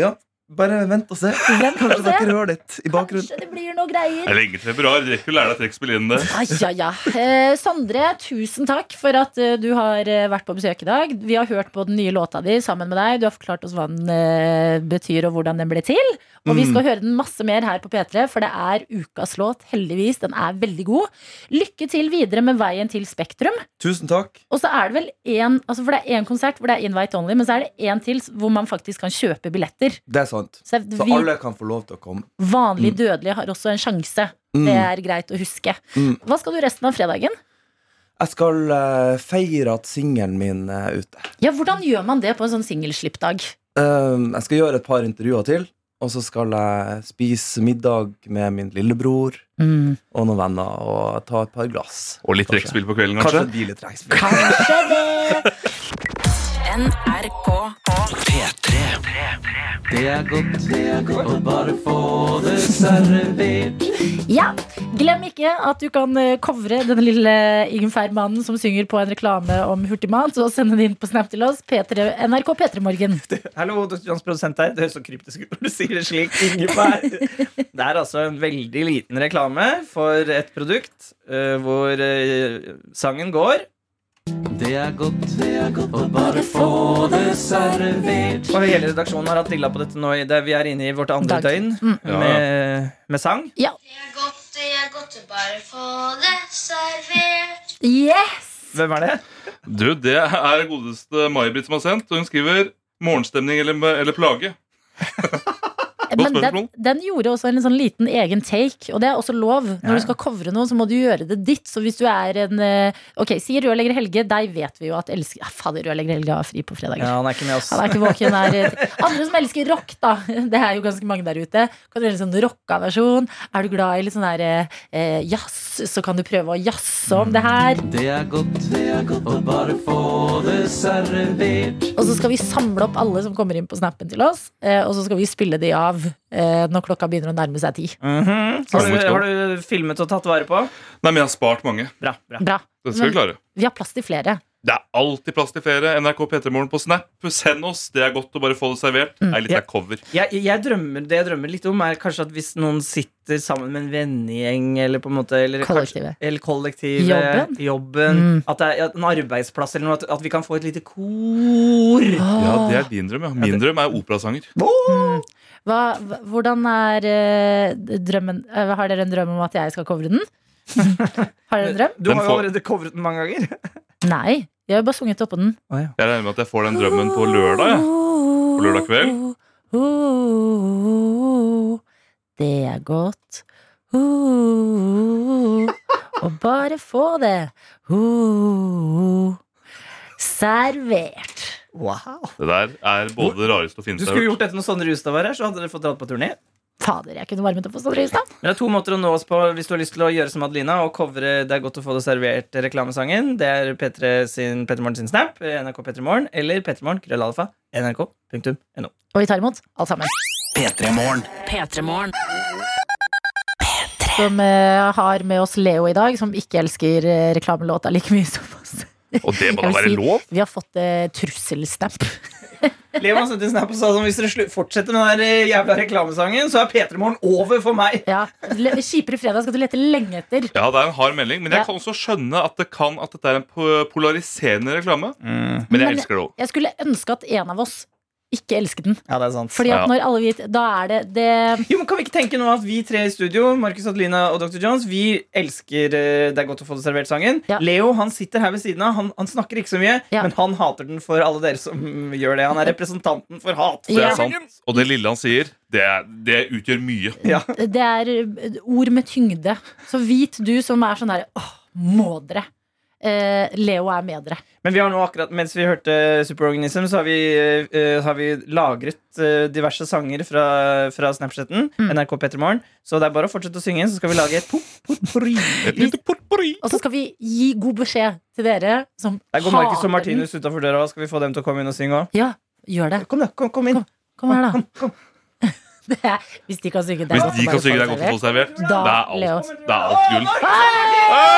Bare vent og se. Vent og Kanskje se. dere hører litt i bakgrunnen. Kanskje det blir noe greier. Det er lenge til februar. Du rekker å lære deg trekkspill innen det. Ai, ja, ja. Eh, Sondre, tusen takk for at eh, du har eh, vært på besøk i dag. Vi har hørt på den nye låta di sammen med deg. Du har forklart oss hva den eh, betyr og hvordan den ble til. Og Mm. vi skal høre den masse mer her på P3, for det er ukas låt, heldigvis. Den er veldig god. Lykke til videre med veien til Spektrum. Tusen takk. Og så er det vel én altså for det er en konsert hvor det er invite only, men så er det én til hvor man faktisk kan kjøpe billetter. Det er sant. Så Så vi alle Mm. kan få lov til å komme. vanlig dødelige har også en sjanse. Det er greit å huske. Mm. Hva skal du resten av fredagen? Jeg skal eh, feire at singelen min er ute. Ja, Hvordan gjør man det på en sånn singelslippdag? Ehm, jeg skal gjøre et par intervjuer til, og så skal jeg spise middag med min lillebror og noen venner og ta et par glass. Og litt trekkspill på kvelden, Kanskje kanskje. det blir litt trekkspill. Kanskje det! NRK Det er godt, det er godt å bare få det servert. Ja, Glem ikke at du kan eh, covre den lille Ingefær-mannen som synger på en reklame om hurtigmat, og sende det inn på Snap til oss. P3, NRK P3morgen. Hallo, Dr. Johns produsent her. Det høres så kryptisk ut når du sier det slik. Ingeberg. Det er altså en veldig liten reklame for et produkt eh, hvor eh, sangen går. Det er godt, det er godt å bare få det servert. Og hele redaksjonen har hatt dilla på dette nå. i det Vi er inne i vårt andre Dag. Mm. døgn med, med sang. Det er godt å bare få det servert. Yes! Hvem er det? Du, det er godeste May-Britt som har sendt. og Hun skriver 'Morgenstemning eller, eller plage'. Men den, spørsmål. den gjorde også en sånn liten egen take, og det er også lov. Når du skal covre noen, så må du gjøre det ditt. Så hvis du er en eh, Ok, si rørlegger Helge. Deg vet vi jo at elsker ja, Fader, rørlegger Helge har fri på fredager. Ja, han er ikke med oss. Han er ikke våken han er Andre som elsker rock, da. Det er jo ganske mange der ute. Kan du gjøre en sånn rocka versjon? Er du glad i litt sånn her eh, jazz, så kan du prøve å jazze om det her. Det er godt, det er godt å bare få det servert. Og så skal vi samle opp alle som kommer inn på snappen til oss, eh, og så skal vi spille de av eh, når klokka begynner å nærme seg ti. Mhm. Sånn har, du, har du filmet og tatt vare på? Nei, men jeg har spart mange. Bra. bra Bra. Det skal vi Men klare. vi har plass til flere. Det er alltid plass til flere. NRK P3morgen på Snap. Send oss. Det er godt å bare få det servert. Det er litt av cover. Jeg, jeg drømmer, det jeg drømmer litt om, er kanskje at hvis noen sitter sammen med en vennegjeng eller på en måte eller Kollektivet. Kanskje, eller kollektivet Jobben. jobben, Mm. At det er at en arbeidsplass eller noe. At, at vi kan få et lite kor. Ja, det er din drøm. Ja. Min drøm er operasanger. Hva, hva- hvordan er eh, drømmen eh, Har dere en drøm om at jeg skal covre den? har dere en drøm? Du Den har jo får- allerede covret den mange ganger. Nei. Jeg har jo bare sunget oppå den. Jeg regner med at jeg får den drømmen på lørdag. Ja. På lørdag kveld. Det er godt. Og bare få det. Servert. Wow. Det der er både det rareste og Du fineste jeg skulle har hørt. gjort dette når Sondre Justad var her, så hadde dere fått dratt på turné. Fader, jeg kunne varmet opp på Sondre Hustad. Men det er to måter å nå oss på hvis du har lyst til å gjøre som Adelina og covre 'Det er godt å få det servert' reklamesangen. Det er Petre sin, Petter Morgen sin snap, NRK Petter Morgen, eller Petter Morgen, krøllalfa, nrk.no. Og vi tar imot alt sammen. P3morgen. P3morgen. Som eh, har med oss Leo i dag, som ikke elsker eh, reklamelåta like mye som oss. Og det må da Jeg vil være si- lov? Vi har fått eh, trusselsnap. Leo han sendte en snap og sa sånn hvis dere slu- fortsetter med den der jævla reklamesangen, så er Petter Morgen over for meg. Ja. le- Kjipere fredag skal du lete lenge etter. Ja, det er en hard melding, men Ja. jeg kan også skjønne at det kan at dette er en po- polariserende reklame. Mhm. Mm. Men jeg Men- elsker det òg. Jeg skulle ønske at en av oss ikke elsket den. Ja, det er sant. Fordi at Ja. når alle vi, Da er det, det Jo, men Kan vi ikke tenke nå at vi tre i studio Marcus Adelina og Dr. Jones, vi elsker eh, 'Det er godt å få det servert'-sangen. Ja. Leo han sitter her ved siden av. Han, han snakker ikke så mye, Ja. men han hater den for alle dere som gjør det. Han er representanten for hat. Det Ja. er sant. Og det lille han sier, det, er- det utgjør mye. Ja. Det er eh, ord med tyngde. Så vit du som er sånn der Åh, må dere. Eh, Leo er med dere. Men vi har nå akkurat, mens vi hørte Superorganism, så har vi, eh, har vi lagret eh, diverse sanger fra, fra Snapchatten. Mm. NRK Petremorgen. Så det er bare å fortsette å synge, så skal vi lage et pop. Et lite potpourri. Og så skal vi gi god beskjed til dere som Der går Marcus og hater den. Martinus utafor døra. Skal vi få dem til å komme inn og synge òg? Ja, gjør det. Kom, da. Kom, kom inn. Kom her, da. Det er- Hvis de kan synge det er Hvis godt å de bare kan synge få det er godt å få servert. det servert, det Da, er Leo. alt, det er alt gull.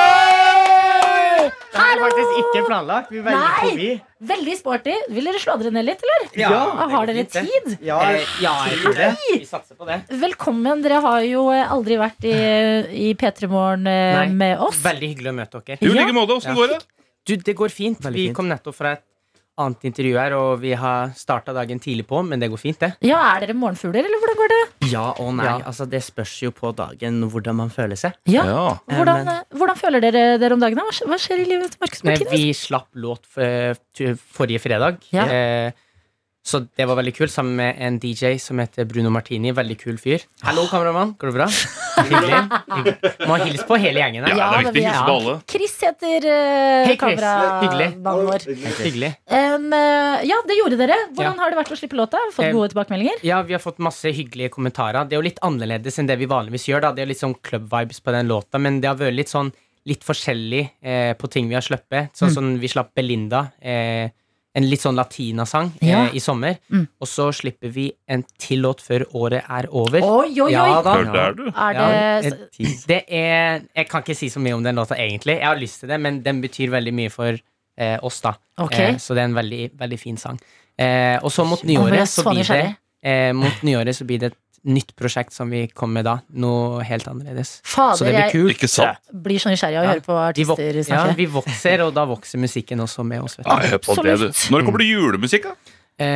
Det er faktisk ikke planlagt. Vi Nei! Veldig sporty. Vil dere slå dere ned litt, eller? Ja, det Har går dere fint, det. tid? Ja, jeg tror det. Vi satser på det. Velkommen. Dere har jo eh, aldri vært i, i P3 Morgen eh, Nei. med oss. Veldig hyggelig å møte dere. Jo, i like måte. Åssen Ja. går det? Du, det går fint. vi kom nettopp fra et annet intervju her, og vi har starta dagen tidlig på, men det går fint, det. Ja, Er dere morgenfugler, eller hvordan går det? Ja og nei. Altså, det spørs jo på dagen hvordan man føler seg. Ja. Ja. Hvordan, Eh, men- eh, hvordan føler dere dere om dagen? da? Hva skj- Hva skjer i livet til Markus Nei, Martinus? vi slapp låt eh, tu- forrige fredag. Ja. Eh, så det var veldig kult, sammen med en DJ som heter Bruno Martini. Veldig kul fyr. Hallo, kameramann. Går det bra? Hyggelig. Hyggelig. Må hilse på hele gjengen her. Ja, det er da, viktig. vi er- Hilse på alle. Chris heter eh, Hei, Chris. Hyggelig. kameramannen vår. Hyggelig. Em, eh, ja, det gjorde dere. Hvordan Ja. har det vært å slippe låta? Har vi Fått Em, gode tilbakemeldinger? Eh, Ja, vi har fått masse hyggelige kommentarer. Det er jo litt annerledes enn det vi vanligvis gjør. da Det er litt sånn club-vibes på den låta, men det har vært litt sånn litt forskjellig eh, på ting vi har sluppet. Mm. Sånn som vi slapp Belinda, eh, en litt sånn latinasang, Ja. eh, i sommer. Mm. Og så slipper vi en til låt før året er over. Oi, oi, oi! Ja da. Hørte er du? er Ja, Eh, det, en tease. det er Jeg kan ikke si så mye om den låta, egentlig. Jeg har lyst til det, men den betyr veldig mye for eh, oss, da. Ok. Eh, så det er en veldig, veldig fin sang. Eh, og så mot Nå ble jeg nyåret så så blir det nysgjerrig. eh, Mot nyåret så blir det et nytt prosjekt som vi kommer med da. Noe helt annerledes. så Fader, det blir jeg kult. Ikke sant? blir så nysgjerrig av å Ja. høre på Vi, vok artister ja, snakke. vi vokser, og da vokser musikken også med oss. Vet du. Nei, hør på det, du. Når kommer det julemusikk, da? Eh,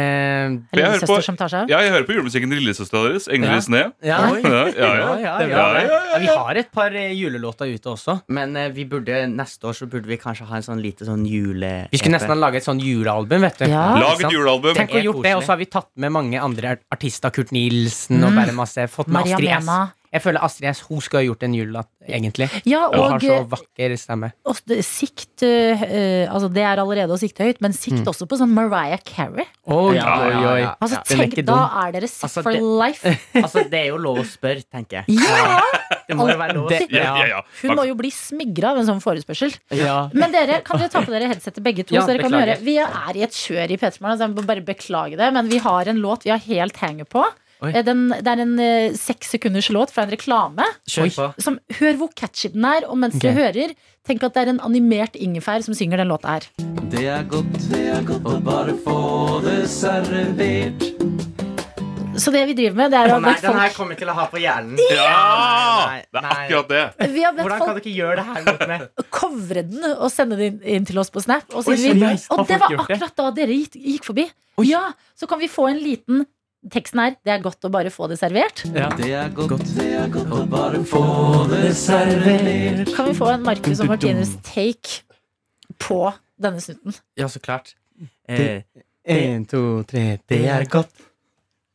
jeg hører på- Lillesøster som tar seg av. Ja, jeg hører på julemusikken til lillesøstera deres, Ingrid Ja. Sne. ja, oi. Ja, ja, Ja, ja. ja, Det er ja, bra, ja, det. ja, Vi har et par eh, julelåter ute også. Men eh, vi burde, neste år så burde vi kanskje ha en sånn lite sånn jule... Vi skulle nesten ha laget et sånn julealbum, vet du. Ja. Lag et Sant? julealbum. Tenk å ha Det er gjort det, og koselig. så har vi tatt med mange andre art- artister. Kurt Nilsen og Mm. bare masse. Fått med Maria Astrid S. Mena. Jeg føler Astrid S hun skulle ha gjort en julelåt, egentlig. Ja, Hun har og, så vakker stemme. og det- sikt eh, Altså, det er allerede å sikte høyt, men Mm. sikt også på sånn Mariah Carey. Oi, Ja, oi, ja, oi. ja. Altså, Den er tenk, ikke da dum. er dere set Altså, for det- life. Altså, det er jo lov å spørre, tenker jeg. Ja! Det må jo være lov å Det- spørre. Ja, ja, ja. Hun må jo bli smigra av en sånn forespørsel. Ja. Men dere, kan dere ta på dere headsetet begge to? Ja, så dere kan høre beklager. Vi er i et kjør i P3morgen, så jeg må bare beklage det, men vi har en låt vi har helt hanger på. Oi. Eh, Den, det er en eh, seks sekunders låt fra en reklame. Kjør på. Som, hør hvor catchy den er, og mens Ok. du hører, tenk at det er en animert ingefær som synger den låta her. Det er godt, det er godt å bare få det servert. Så det vi driver med, det er å ha Nei, bedt den her folk kommer jeg til å ha på hjernen. Ja! Det er akkurat det. Vi har bedt Hvordan kan folk- dere ikke gjøre det her mot meg? covre den og sende den inn- inn til oss på Snap. Og, så Oi, sier vi, seriøst? Har og det folk var gjort det? akkurat da dere gikk, gikk forbi. Ja, Så kan vi få en liten Teksten her, det er godt å bare få det servert. Det er godt, det er godt å bare få det servert. Kan vi få en Marcus og Martinus take på denne snutten? Ja, så klart. Det- En, to, tre. Eh, det er godt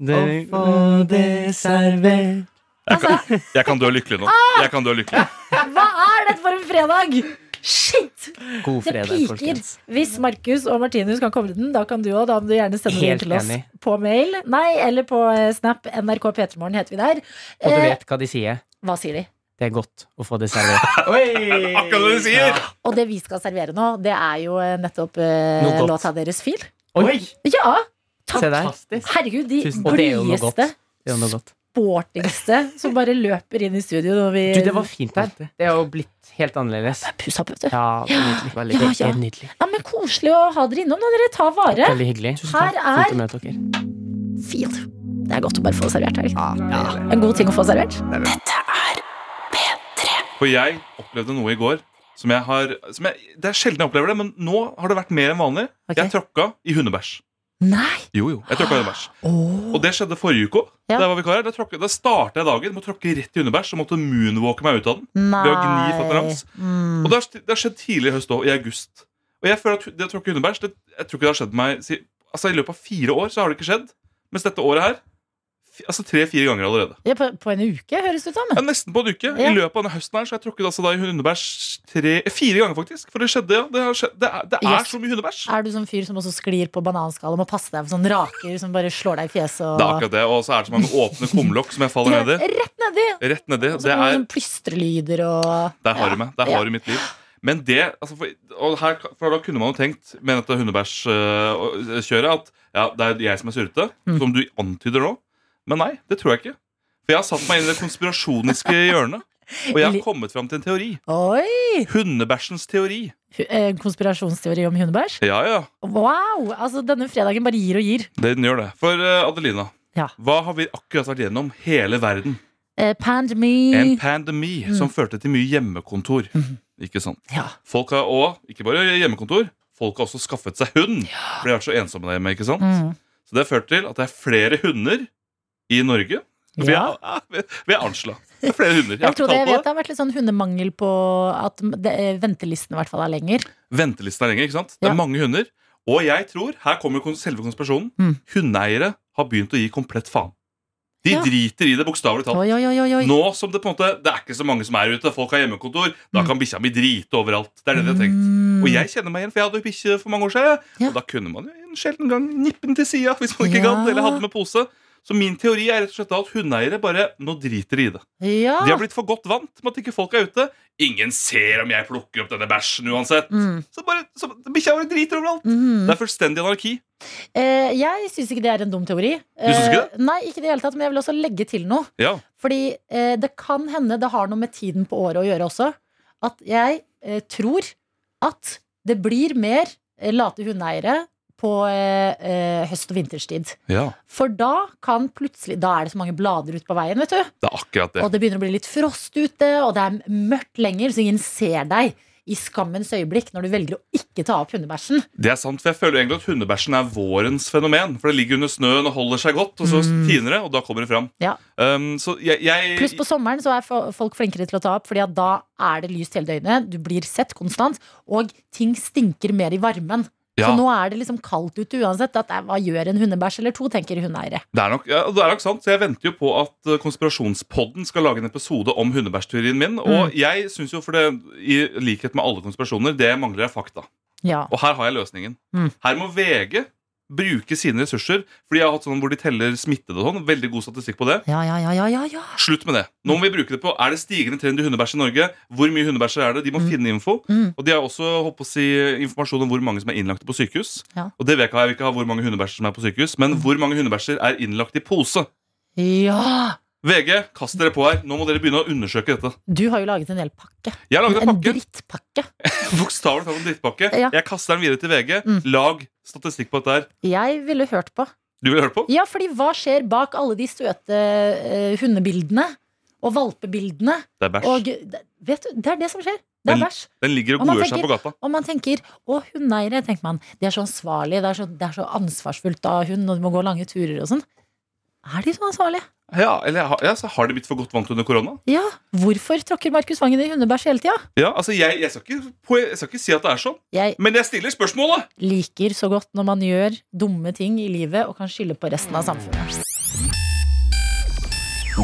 Å få det servert. Jeg kan, jeg kan dø lykkelig nå. Jeg kan dø lykkelig. Hva er dette for en fredag? Shit! God fredag, det piker. folkens. Hvis Markus og Martinus kan komme til den, da kan du òg. Da må du gjerne sende den Helt inn til oss enig. på mail. Nei, eller på eh, Snap. NRK P3morgen heter vi der. Og du Eh, vet hva de sier. Hva sier de? Det er godt å få det servert. Akkurat det du sier! Og det vi skal servere nå, det er jo eh, nettopp eh, Noe godt. låta deres Fil. Oi! Ja! Takk. Se der. Herregud, de Tusen- Og det er jo noe godt. blideste, Det er jo noe godt. sportingste som bare løper inn i studio når vi Du, det var fint der. Det er jo blitt helt annerledes. Puss opp, vet du. Ja, det er nydelig. Veldig Ja, Det ja. er nydelig. Ja, men Koselig å ha dere innom. Da dere tar vare. Veldig hyggelig. Her Fint å er møte dere. Feel. Det er godt å bare få servert. Er det ikke? En god ting å få servert. For jeg opplevde noe i går som jeg har som jeg, Det er sjelden jeg opplever det, men nå har det vært mer enn vanlig. Jeg tråkka i hundebæsj. Nei! Jo, jo. Jeg tråkka i hundebæsj. Og det skjedde forrige uke òg. Da jeg var vikar her. Da, tråkket- da starta jeg dagen med å tråkke rett i hundebæsj og måtte moonwalke meg ut av den. Ved å gni fatter hans. Mm. Og det har, det har skjedd tidlig i høst òg, i august. Og jeg føler at det å tråkke hundebæsj det, Jeg tror ikke det har skjedd meg si, Altså I løpet av fire år så har det ikke skjedd. Mens dette året her fi- Altså tre-fire ganger allerede. Ja, på, på en uke, høres det ut som. Ja, nesten på en uke. Ja. I løpet av denne høsten her så har jeg tråkket altså da i hundebæsj tre, fire ganger, faktisk. For det skjedde, ja. Det, har skjedd, det er, det er Yes. så mye hundebæsj. Er du sånn fyr som også sklir på bananskall og må passe deg for sånn raker som bare slår deg i fjeset? Og... Det er akkurat det. Og så er det så mange åpne kumlokk som jeg faller ned i. Rett nedi! Rett nedi. Og så Det kommer det er sånn Plystrelyder og Der har du meg. Der har du mitt liv. Men det, altså for, og her, for da kunne man jo tenkt med dette hundebæsjkjøret at ja, det er jeg som er surrete, Mm. som du antyder nå. Men nei, det tror jeg ikke. For jeg har satt meg inn i det konspirasjoniske hjørnet. Og jeg har kommet fram til en teori. Oi! Hundebæsjens teori. Hu- eh, Konspirasjonsteori om hundebæsj? Ja, ja. Wow! Altså, denne fredagen bare gir og gir. Den gjør det. For eh, Adelina, Ja. hva har vi akkurat vært gjennom? Hele verden. Eh, pandemi En pandemi Mm. Mhm. som førte til mye hjemmekontor. Ikke sant? Folk har også, ikke bare hjemmekontor, folk har også skaffet seg hund. For de har vært så ensomme der hjemme. ikke sant? Mm. Så det har ført til at det er flere hunder i Norge. Vi Ja. er, vi- vi er ansla. Det er flere hunder. Jeg har Jeg ikke tror det, tall jeg på vet, det. det har vært litt sånn hundemangel på at det, eh, ventelisten i hvert fall er lenger. Ventelisten er lenger. ikke sant? Det er mange hunder. Og jeg tror, her kommer kons- selve konspirasjonen, Mm. hundeeiere har begynt å gi komplett faen. De Ja. driter i det, bokstavelig talt. Oi, oi, oi, oi, oi. Nå som det på en måte Det er ikke så mange som er ute, folk har hjemmekontor, Mm. da kan bikkja mi drite overalt. Det er det de har tenkt. Og jeg kjenner meg igjen, for jeg hadde jo bikkje for mange år siden. Og da kunne man jo en sjelden gang nippe den til sida hvis man Ja. ikke gadd, eller hadde med pose. Så min teori er rett og slett da at hundeeiere bare nå driter de i det. Ja. De har blitt for godt vant med at ikke folk er ute. Ingen ser om jeg plukker opp denne bæsjen uansett. Mm. mhm. Så bare, så Bikkja bare driter overalt. Det er fullstendig anarki. Eh, jeg syns ikke det er en dum teori. Du synes ikke Eh, nei, ikke i det hele tatt, men jeg vil også legge til noe. Ja. Fordi eh, det kan hende det har noe med tiden på året å gjøre også. At jeg eh, tror at det blir mer eh, late hundeeiere på eh, eh, høst- og vinterstid. Ja, For da kan plutselig Da er det så mange blader ute på veien, vet du. det er akkurat det. Og det begynner å bli litt frost ute, og det er mørkt lenger, så ingen ser deg i skammens øyeblikk når du velger å ikke ta opp hundebæsjen. Det er sant, for jeg føler egentlig at hundebæsjen er vårens fenomen. For det ligger under snøen og holder seg godt, og så tiner det, og da kommer det fram. Mm. Ja. Um, så jeg, jeg Pluss på sommeren så er fo- folk flinkere til å ta opp, Fordi at da er det lyst hele døgnet. Du blir sett konstant, og ting stinker mer i varmen. Ja. Så nå er det liksom kaldt ute uansett. At, eh, hva gjør en hundebæsj eller to, tenker hundeeiere. Det er, nok, ja, det er nok sant, så Jeg venter jo på at eh, Konspirasjonspodden skal lage en episode om hundebæsjteorien min. Og Mm. jeg synes jo, for det, i likhet med alle konspirasjoner, det jeg mangler er fakta. Ja. Og her har jeg løsningen. Mm. Her må VG bruke sine ressurser, fordi jeg har hatt sånn hvor de teller smittede og sånn. Veldig god statistikk på det. Ja, ja, ja, ja, ja, ja. Slutt med det. Nå må vi bruke det på Er det stigende trend i hundebæsj i Norge? Hvor mye hundebæsjer er det? De må finne info. Mm. Og de har også håper å si, informasjon om hvor mange som er innlagt på sykehus. Ja. Mm. Og det vet jeg ikke jeg vil ikke ha hvor mange hundebæsjer som er på sykehus, men hvor mange hundebæsjer er innlagt i pose. Ja! VG, kast dere på her. Nå må dere begynne å undersøke dette. Du har jo laget en hel pakke. Jeg laget en pakke. drittpakke. Bokstavelig talt en drittpakke. Ja. Jeg kaster den videre til VG. Mm. Lag statistikk på dette her. Jeg ville hørt på. Du vil høre på? Ja, fordi hva skjer bak alle de søte eh, hundebildene og valpebildene? Det er bæsj. Og, det- vet du, det er det som skjer. Det er Den- bæsj. den ligger og man godgjør seg tenker- på gata. Og man tenker å, hundeeiere, tenker man. De er så ansvarlige. Det er så, det er så ansvarsfullt av hund, og de må gå lange turer og sånn. Er de så ansvarlige? Ja, eller har- ja, så har de blitt for godt vant under korona? Ja. Hvorfor tråkker Markus Vangen i hundebæsj hele tida? Ja, altså jeg, jeg, skal ikke, på- jeg skal ikke si at det er sånn, Jeg men jeg stiller spørsmålet! liker så godt når man gjør dumme ting i livet og kan skylde på resten av samfunnet.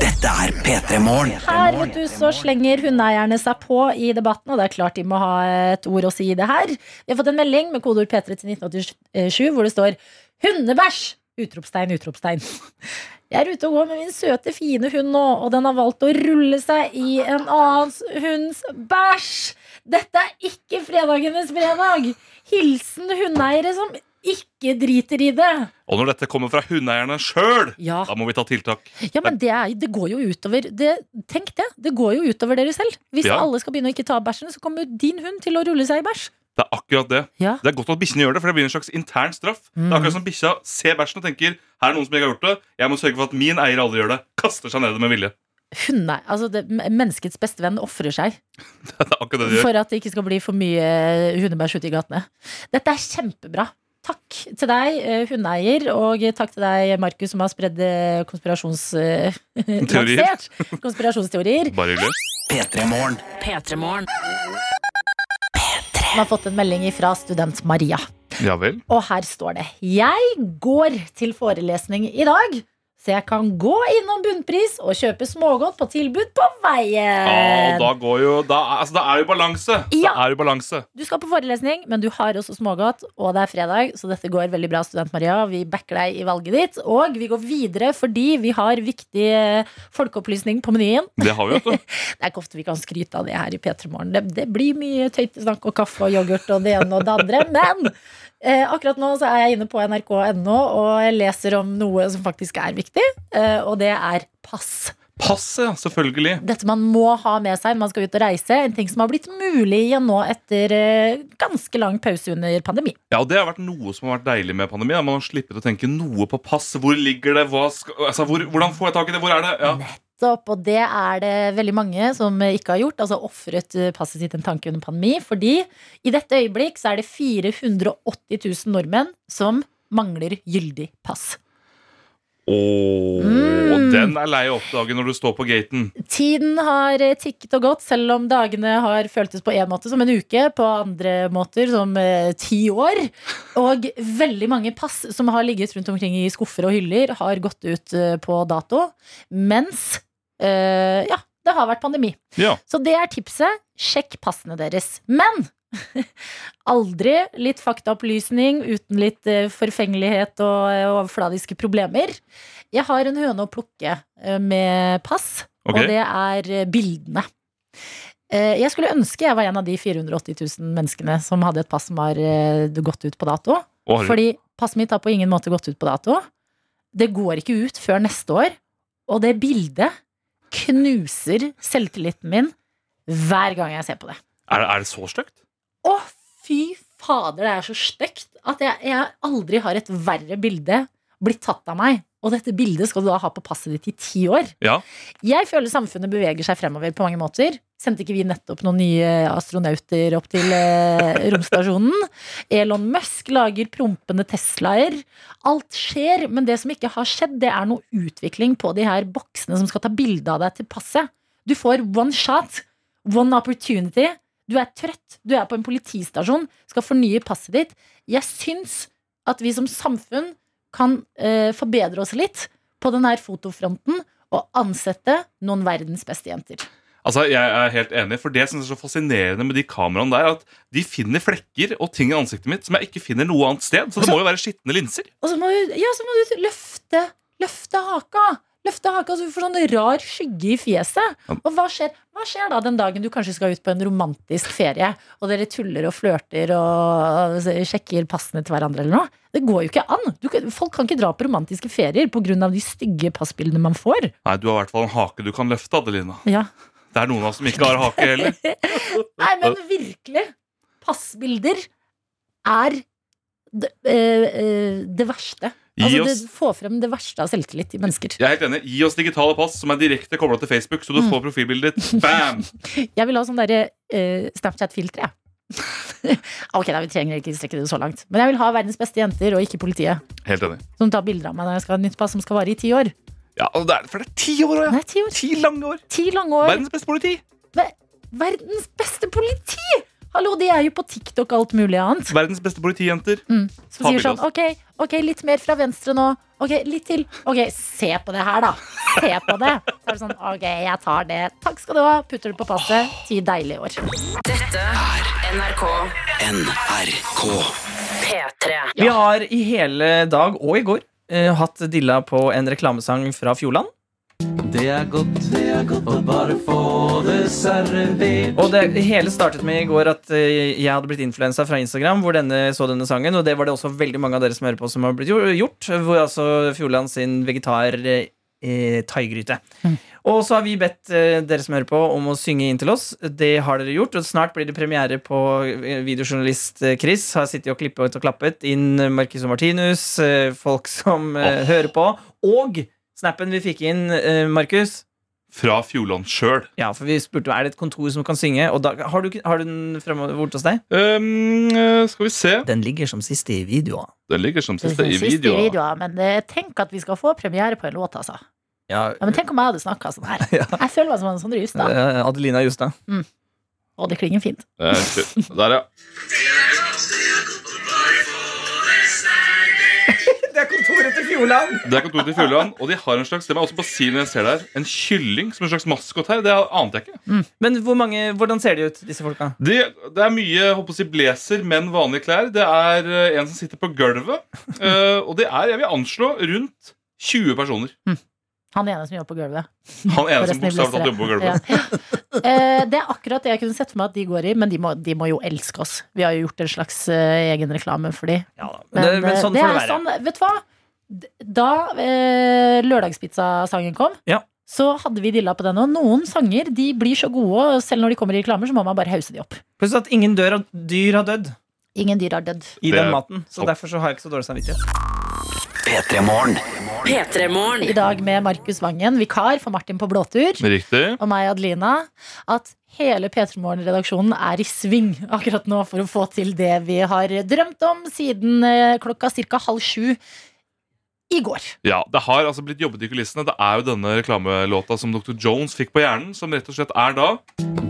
Dette er P3 Morgen. Her vet du, så slenger hundeeierne seg på i debatten, og det er klart de må ha et ord å si i det her. Vi har fått en melding med kodeord P3 til 1987 hvor det står 'hundebæsj!' Utropstegn, utropstegn. Jeg er ute og går med min søte, fine hund nå, og den har valgt å rulle seg i en annens hunds bæsj. Dette er ikke fredagenes fredag. Hilsen hundeeiere som ikke driter i det. Og når dette kommer fra hundeeierne sjøl, Ja. da må vi ta tiltak. Ja, men det, er, det går jo utover det, Tenk det, det går jo utover dere selv. Hvis Ja. alle skal begynne å ikke ta bæsjen, så kommer jo din hund til å rulle seg i bæsj. Det er akkurat det. Ja. Det er godt at bikkjene gjør det, for det blir en slags intern straff. Det Mm. er akkurat som bikkja ser bæsjen og tenker her er noen som ikke har gjort det. Jeg må sørge for at min eier aldri gjør det. Kaster seg ned med vilje. Hunde, altså det, menneskets beste venn ofrer seg Det er akkurat det de gjør. for at det ikke skal bli for mye hundebæsj ute i gatene. Dette er kjempebra. Takk til deg, eh, hundeeier, og takk til deg, Markus, som har spredd eh, konspirasjons... eh, Teorier. lansert Konspirasjonsteorier. Bare hyggelig. P3morgen. Man har fått en melding fra student Maria. Ja vel. Og her står det Jeg går til forelesning i dag Så jeg kan gå innom bunnpris Og kjøpe smågodt på tilbud på Ja, veien og da går jo Da, altså, da er jo balanse. Da Eh. Ja. er jo balanse. Du skal på forelesning, men du har også smågodt Og det er fredag, så dette går veldig bra Student Maria, vi backer deg i valget ditt Og vi går videre fordi vi har viktig eh, Folkeopplysning på menyen Det har vi, vet du. det er ikke ofte vi kan skryte av det her i P3morgen. Det, det blir mye tøytesnakk og kaffe og yoghurt og det ene og det andre. Men eh, akkurat nå så er jeg inne på nrk.no og jeg leser om noe som faktisk er viktig, eh, og det er pass. Passet, ja. Selvfølgelig. Dette man må ha med seg når man skal ut og reise. En ting som har blitt mulig igjen nå etter eh, ganske lang pause under pandemi. Ja, og Det har vært noe som har vært deilig med pandemien. Man har slippet å tenke noe på pass. Hvor ligger det? Hva skal, altså, hvor, hvordan får jeg tak i det? Hvor er det? Ja. nettopp, og det er det veldig mange som ikke har gjort. Altså ofret eh, passet sitt en tanke under pandemi. Fordi i dette øyeblikk så er det 480 000 nordmenn som mangler gyldig pass. Åh, Mm. Den er lei å oppdage når du står på gaten. Tiden har eh, tikket og gått, selv om dagene har føltes på én måte som en uke, på andre måter som eh, ti år. Og veldig mange pass som har ligget rundt omkring i skuffer og hyller, har gått ut eh, på dato. Mens eh, ja, det har vært pandemi. Ja. Så det er tipset. Sjekk passene deres. Men aldri litt faktaopplysning uten litt eh, forfengelighet og eh, overfladiske problemer. Jeg har en høne å plukke eh, med pass, Ok. og det er eh, bildene. Eh, Jeg skulle ønske jeg var en av de 480 000 menneskene som hadde et pass som har eh, gått ut på dato. Å, herregud. Fordi passet mitt har på ingen måte gått ut på dato. Det går ikke ut før neste år. Og det bildet knuser selvtilliten min hver gang jeg ser på det. Er, det- er det så stygt? Å, fy fader, det er så stygt at jeg, jeg aldri har et verre bilde blitt tatt av meg. Og dette bildet skal du da ha på passet ditt i ti år. Ja. Jeg føler samfunnet beveger seg fremover på mange måter. Sendte ikke vi nettopp noen nye astronauter opp til eh, romstasjonen? Elon Musk lager prompende Teslaer. Alt skjer, men det som ikke har skjedd, det er noe utvikling på de her boksene som skal ta bilde av deg til passet. Du får one shot, one opportunity. Du er trøtt, du er på en politistasjon, skal fornye passet ditt. Jeg syns at vi som samfunn kan eh, forbedre oss litt på den her fotofronten og ansette noen verdens beste jenter. Altså, Jeg er helt enig, for det som er så fascinerende med de kameraene der, at de finner flekker og ting i ansiktet mitt som jeg ikke finner noe annet sted. Så det må jo være skitne linser. Og så må du, ja, så må du løfte, løfte haka. Løfte haka, så du får sånn rar skygge i fjeset. Og hva skjer, hva skjer da den dagen du kanskje skal ut på en romantisk ferie, og dere tuller og flørter og sjekker passene til hverandre eller noe? Det går jo ikke an. Du, kan- folk kan ikke dra på romantiske ferier pga. de stygge passbildene man får. Nei, du har i hvert fall en hake du kan løfte, Adelina. Ja. Det er noen av oss som ikke har hake heller. Nei, men virkelig. Passbilder er det, eh, eh, det verste. Gi Altså, oss- det får frem det verste av selvtillit i mennesker. Jeg er helt enig. Gi oss digitale pass som er direkte kobla til Mm. Facebook, så du får profilbildet ditt. Bam! Jeg vil ha sånn derre eh, Snapchat-filtre, jeg. ok, da, vi trenger ikke strekke det så langt. Men jeg vil ha verdens beste jenter og ikke politiet. Helt enig. Som tar bilder av meg når jeg skal ha nytt pass som skal vare i ti år. Ja, og det er, for det er ti år, Nei, ti, år. ti lange år. Ti lange år. Verdens beste politi. Ver- verdens beste politi! Hallo, de er jo på TikTok og alt mulig annet. Verdens beste politijenter. Mm. Som Ta sier bilde av sånn, ok, ok, litt mer fra venstre nå Ok, litt til Ok, se på det her da Se på det Så er det sånn, ok, jeg tar det Takk skal du ha, putter det på passet Ti deilige år Dette er NRK NRK. P3. Vi har i hele dag og i går eh, hatt dilla på en reklamesang fra Fjordland. Det er godt, det er godt å bare få det servert. Og det hele startet med i går at eh, jeg hadde blitt influensa fra Instagram, hvor denne så denne sangen, og det var det også veldig mange av dere som hører på, som har blitt jo- gjort, hvor altså Fjordland sin vegetar eh, eh, thaigryte. Og så har vi bedt eh, dere som hører på, om å synge inn til oss. Det har dere gjort, og snart blir det premiere på eh, videojournalist eh, Chris. Har sittet og klippet og klappet inn eh, Marcus og Martinus, eh, folk som eh, Åh. hører på, og snappen vi fikk inn, eh, Markus. Fra Fjordland sjøl. Ja, for vi spurte jo, er det et kontor som kan synge. Og da, har, du, ikke- har du den fremme borte hos deg? Ehm, eh, skal vi se. Den ligger som siste i videoen. Den ligger som siste i Siste videoen. Men eh, tenk at vi skal få premiere på en låt altså. ja, Ja, Men tenk om jeg hadde snakket sånn her Jeg føler meg som en sånn rus da eh, Adelina Justad. Og det klinger fint Eh, shit. Der, ja. Det er kontoret til Fjordland! Det er kontoret til Fjordland, og de har en slags Det var også på siden jeg ser der En kylling som en slags maskot her. Det ante jeg ikke. Men hvor mange, hvordan ser de ut, disse folka? Det, det er mye håper å si, blazer, men vanlige klær. Det er eh, en som sitter på gulvet. eh, og det er, jeg vil anslå, rundt 20 personer. Han ene som jobber på gulvet Han ene som Forresten, jeg bokstavelig talt jobber på blesser gulvet. det. Ja. Eh, Det er akkurat det jeg kunne sett for meg at de går i, men de må, de må jo elske oss. Vi har jo gjort en slags eh, egen reklame for de. men det- men eh, sånn det får det er være. sånn- vet du hva? D- Da eh, Lørdagspizzasangen kom, Ja. så hadde vi dilla på den. Og noen sanger de blir så gode, og selv når de kommer i reklamer, så må man bare hause de opp. Pluss at ingen dør av dyr har dødd Ingen dyr har dødd. i Det den er maten. Så derfor så har jeg ikke så dårlig samvittighet. P3-morgen. I dag med Markus Vangen, vikar for Martin på blåtur. Riktig. og meg, Adelina, at hele P3 Morgen-redaksjonen er i sving akkurat nå for å få til det vi har drømt om siden eh, klokka ca. halv sju i går. Ja, Det har altså blitt jobbet i kulissene. Det er jo denne reklamelåta som Dr. Jones fikk på hjernen, som rett og slett er da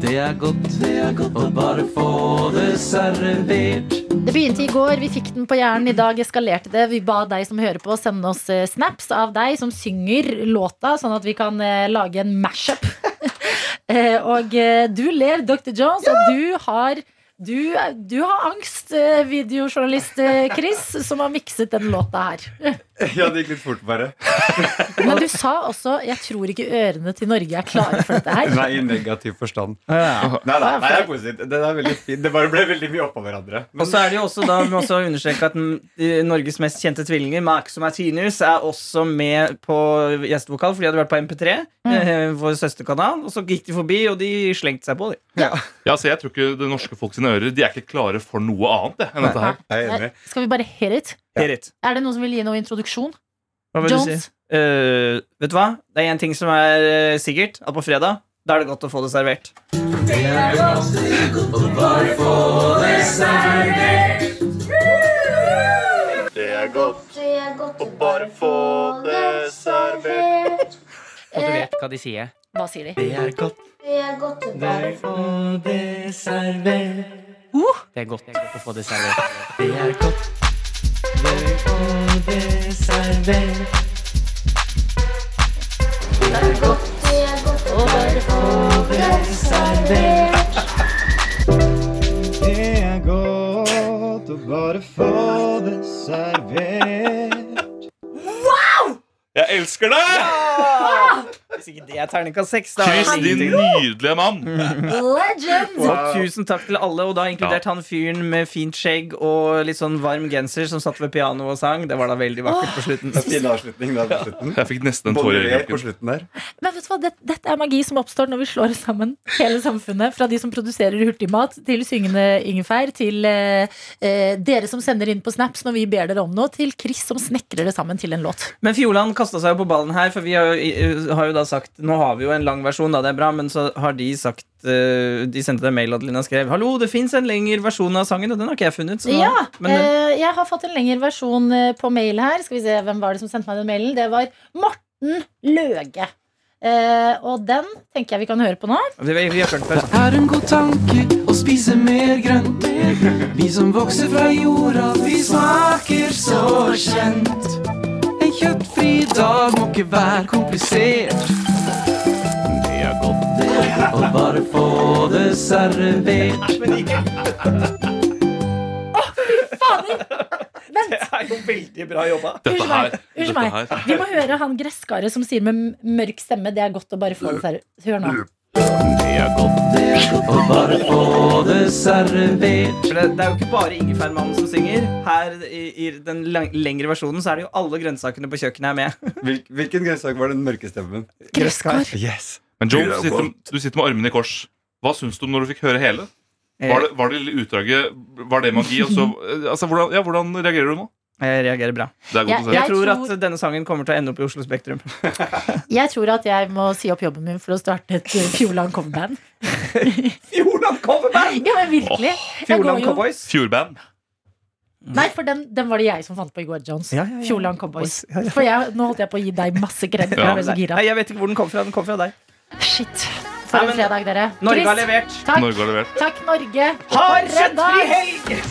Det er godt, det er godt å bare få det servert. Det begynte i går, vi fikk den på hjernen. I dag eskalerte det. Vi ba deg som hører på, sende oss eh, snaps av deg som synger låta, sånn at vi kan eh, lage en mashup. Eh, og eh, du ler, Dr. Jones, og du har du, du har angst, eh, videojournalist eh, Chris, som har mikset den låta her. Ja, det gikk litt fort, bare. Men du sa også 'jeg tror ikke ørene til Norge er klare for dette her'. Nei, i negativ forstand. Nei da, nei, det er positivt. Det er veldig fint. Det bare ble veldig mye oppå hverandre. Og så er det jo også da, vi må også understreke at den- eh, Norges mest kjente tvillinger, Max og Martinus, er også med på gjestevokal, for de hadde vært på MP3, eh, vår søsterkanal, og så gikk de forbi, og de slengte seg på, de. Ja, så Jeg tror ikke det norske folk sine ører De er ikke klare for noe annet det, enn dette her. Nei, Skal vi bare hear it? Hear it. Er det noen som vil gi noe introduksjon? Hva vil du Jones? si? Eh, vet du hva? Det er én ting som er eh, sikkert, at på fredag da er det godt å få det servert. Det er godt, det er godt å bare få det servert. Det er godt, det er godt å bare få det servert. Og du vet hva de sier. Hva sier de? Det er godt, Det er godt å bare få det servert. det er godt å få det servert. Det er godt, det er godt å få det servert. Det er godt, det er godt å bare få det servert. Det er godt å bare få det servert. Jeg elsker deg! Hvis Eh, ikke det er terningkast seks, da er det Chris, din ingenting. nydelige Mhm. mann! Legend! Så tusen takk til alle, og da inkludert han fyren med fint skjegg og litt sånn varm genser som satt ved pianoet og sang. Det var da veldig vakkert på slutten. Det er fin avslutning da på slutten. Jeg fikk nesten en Både tåre i jeg øyekroken. på slutten der. Men vet du hva, det, Dette er magi som oppstår når vi slår sammen hele samfunnet. Fra de som produserer hurtigmat, til syngende ingefær, til eh, eh, dere som sender inn på snaps når vi ber dere om noe, til Chris som snekrer det sammen til en låt. Men Fjordland kasta seg jo på ballen her, for vi har jo, eh, har jo da sagt Nå har vi jo en lang versjon, da det er bra, men så har de sagt eh, De sendte deg mail, Adelina, og skrev 'Hallo, det fins en lengre versjon av sangen', og den har ikke jeg funnet. Så, nå- Ja, men den- eh, jeg har fått en lengre versjon eh, på mail her. Skal vi se, Hvem var det som sendte meg den mailen? Det var Morten Løge. Eh, og den tenker jeg vi kan høre på nå. vi, vi, vi har hørt den først. Er en god tanke å spise mer grønt? Vi som vokser fra jorda, vi smaker så kjent. En kjøttfri dag må ikke være komplisert. Det er godt, det, å bare få det servert. Det er jo veldig bra jobba. Unnskyld meg. Unnskyld meg. Vi må høre han gresskaret som sier med m- mørk stemme. Det er godt å bare få det seriøst. Hør nå. Det er godt, det, å bare få det servert. For det, det er jo ikke bare Ingefærmannen som synger. Her i, i den lang, lengre versjonen så er det jo alle grønnsakene på kjøkkenet er med. hvilken grønnsak var den mørke stemmen? Yes. Men Joe, du Det er sitter, du sitter med armene i kors. Hva syns du om når du fikk høre hele? Eh. Var det, var det lille utdraget Var det magi? Og så, altså, hvordan, ja, hvordan reagerer du nå? Jeg reagerer bra. Det er godt Jeg- å se. Jeg tror at tror- denne sangen kommer til å ende opp i Oslo Spektrum. Jeg tror at jeg må si opp jobben min for å starte et eh, Fjordland coverband. Fjordland coverband?! Ja, men virkelig. Jeg går Fjordland jo- Cowboys. Fjordband. Nei, for den, den var det jeg som fant på i går, Jones. Ja, ja, ja. Fjordland Cowboys. For jeg, nå holdt jeg på å gi deg masse kred. Ja. Jeg ble så gira. Nei, jeg vet ikke hvor den kom fra. Den kom fra deg. Shit. For en fredag, dere. Norge Chris, har levert. Takk, Norge har levert. takk Norge. Ha For en en kjøttfri dag. helg!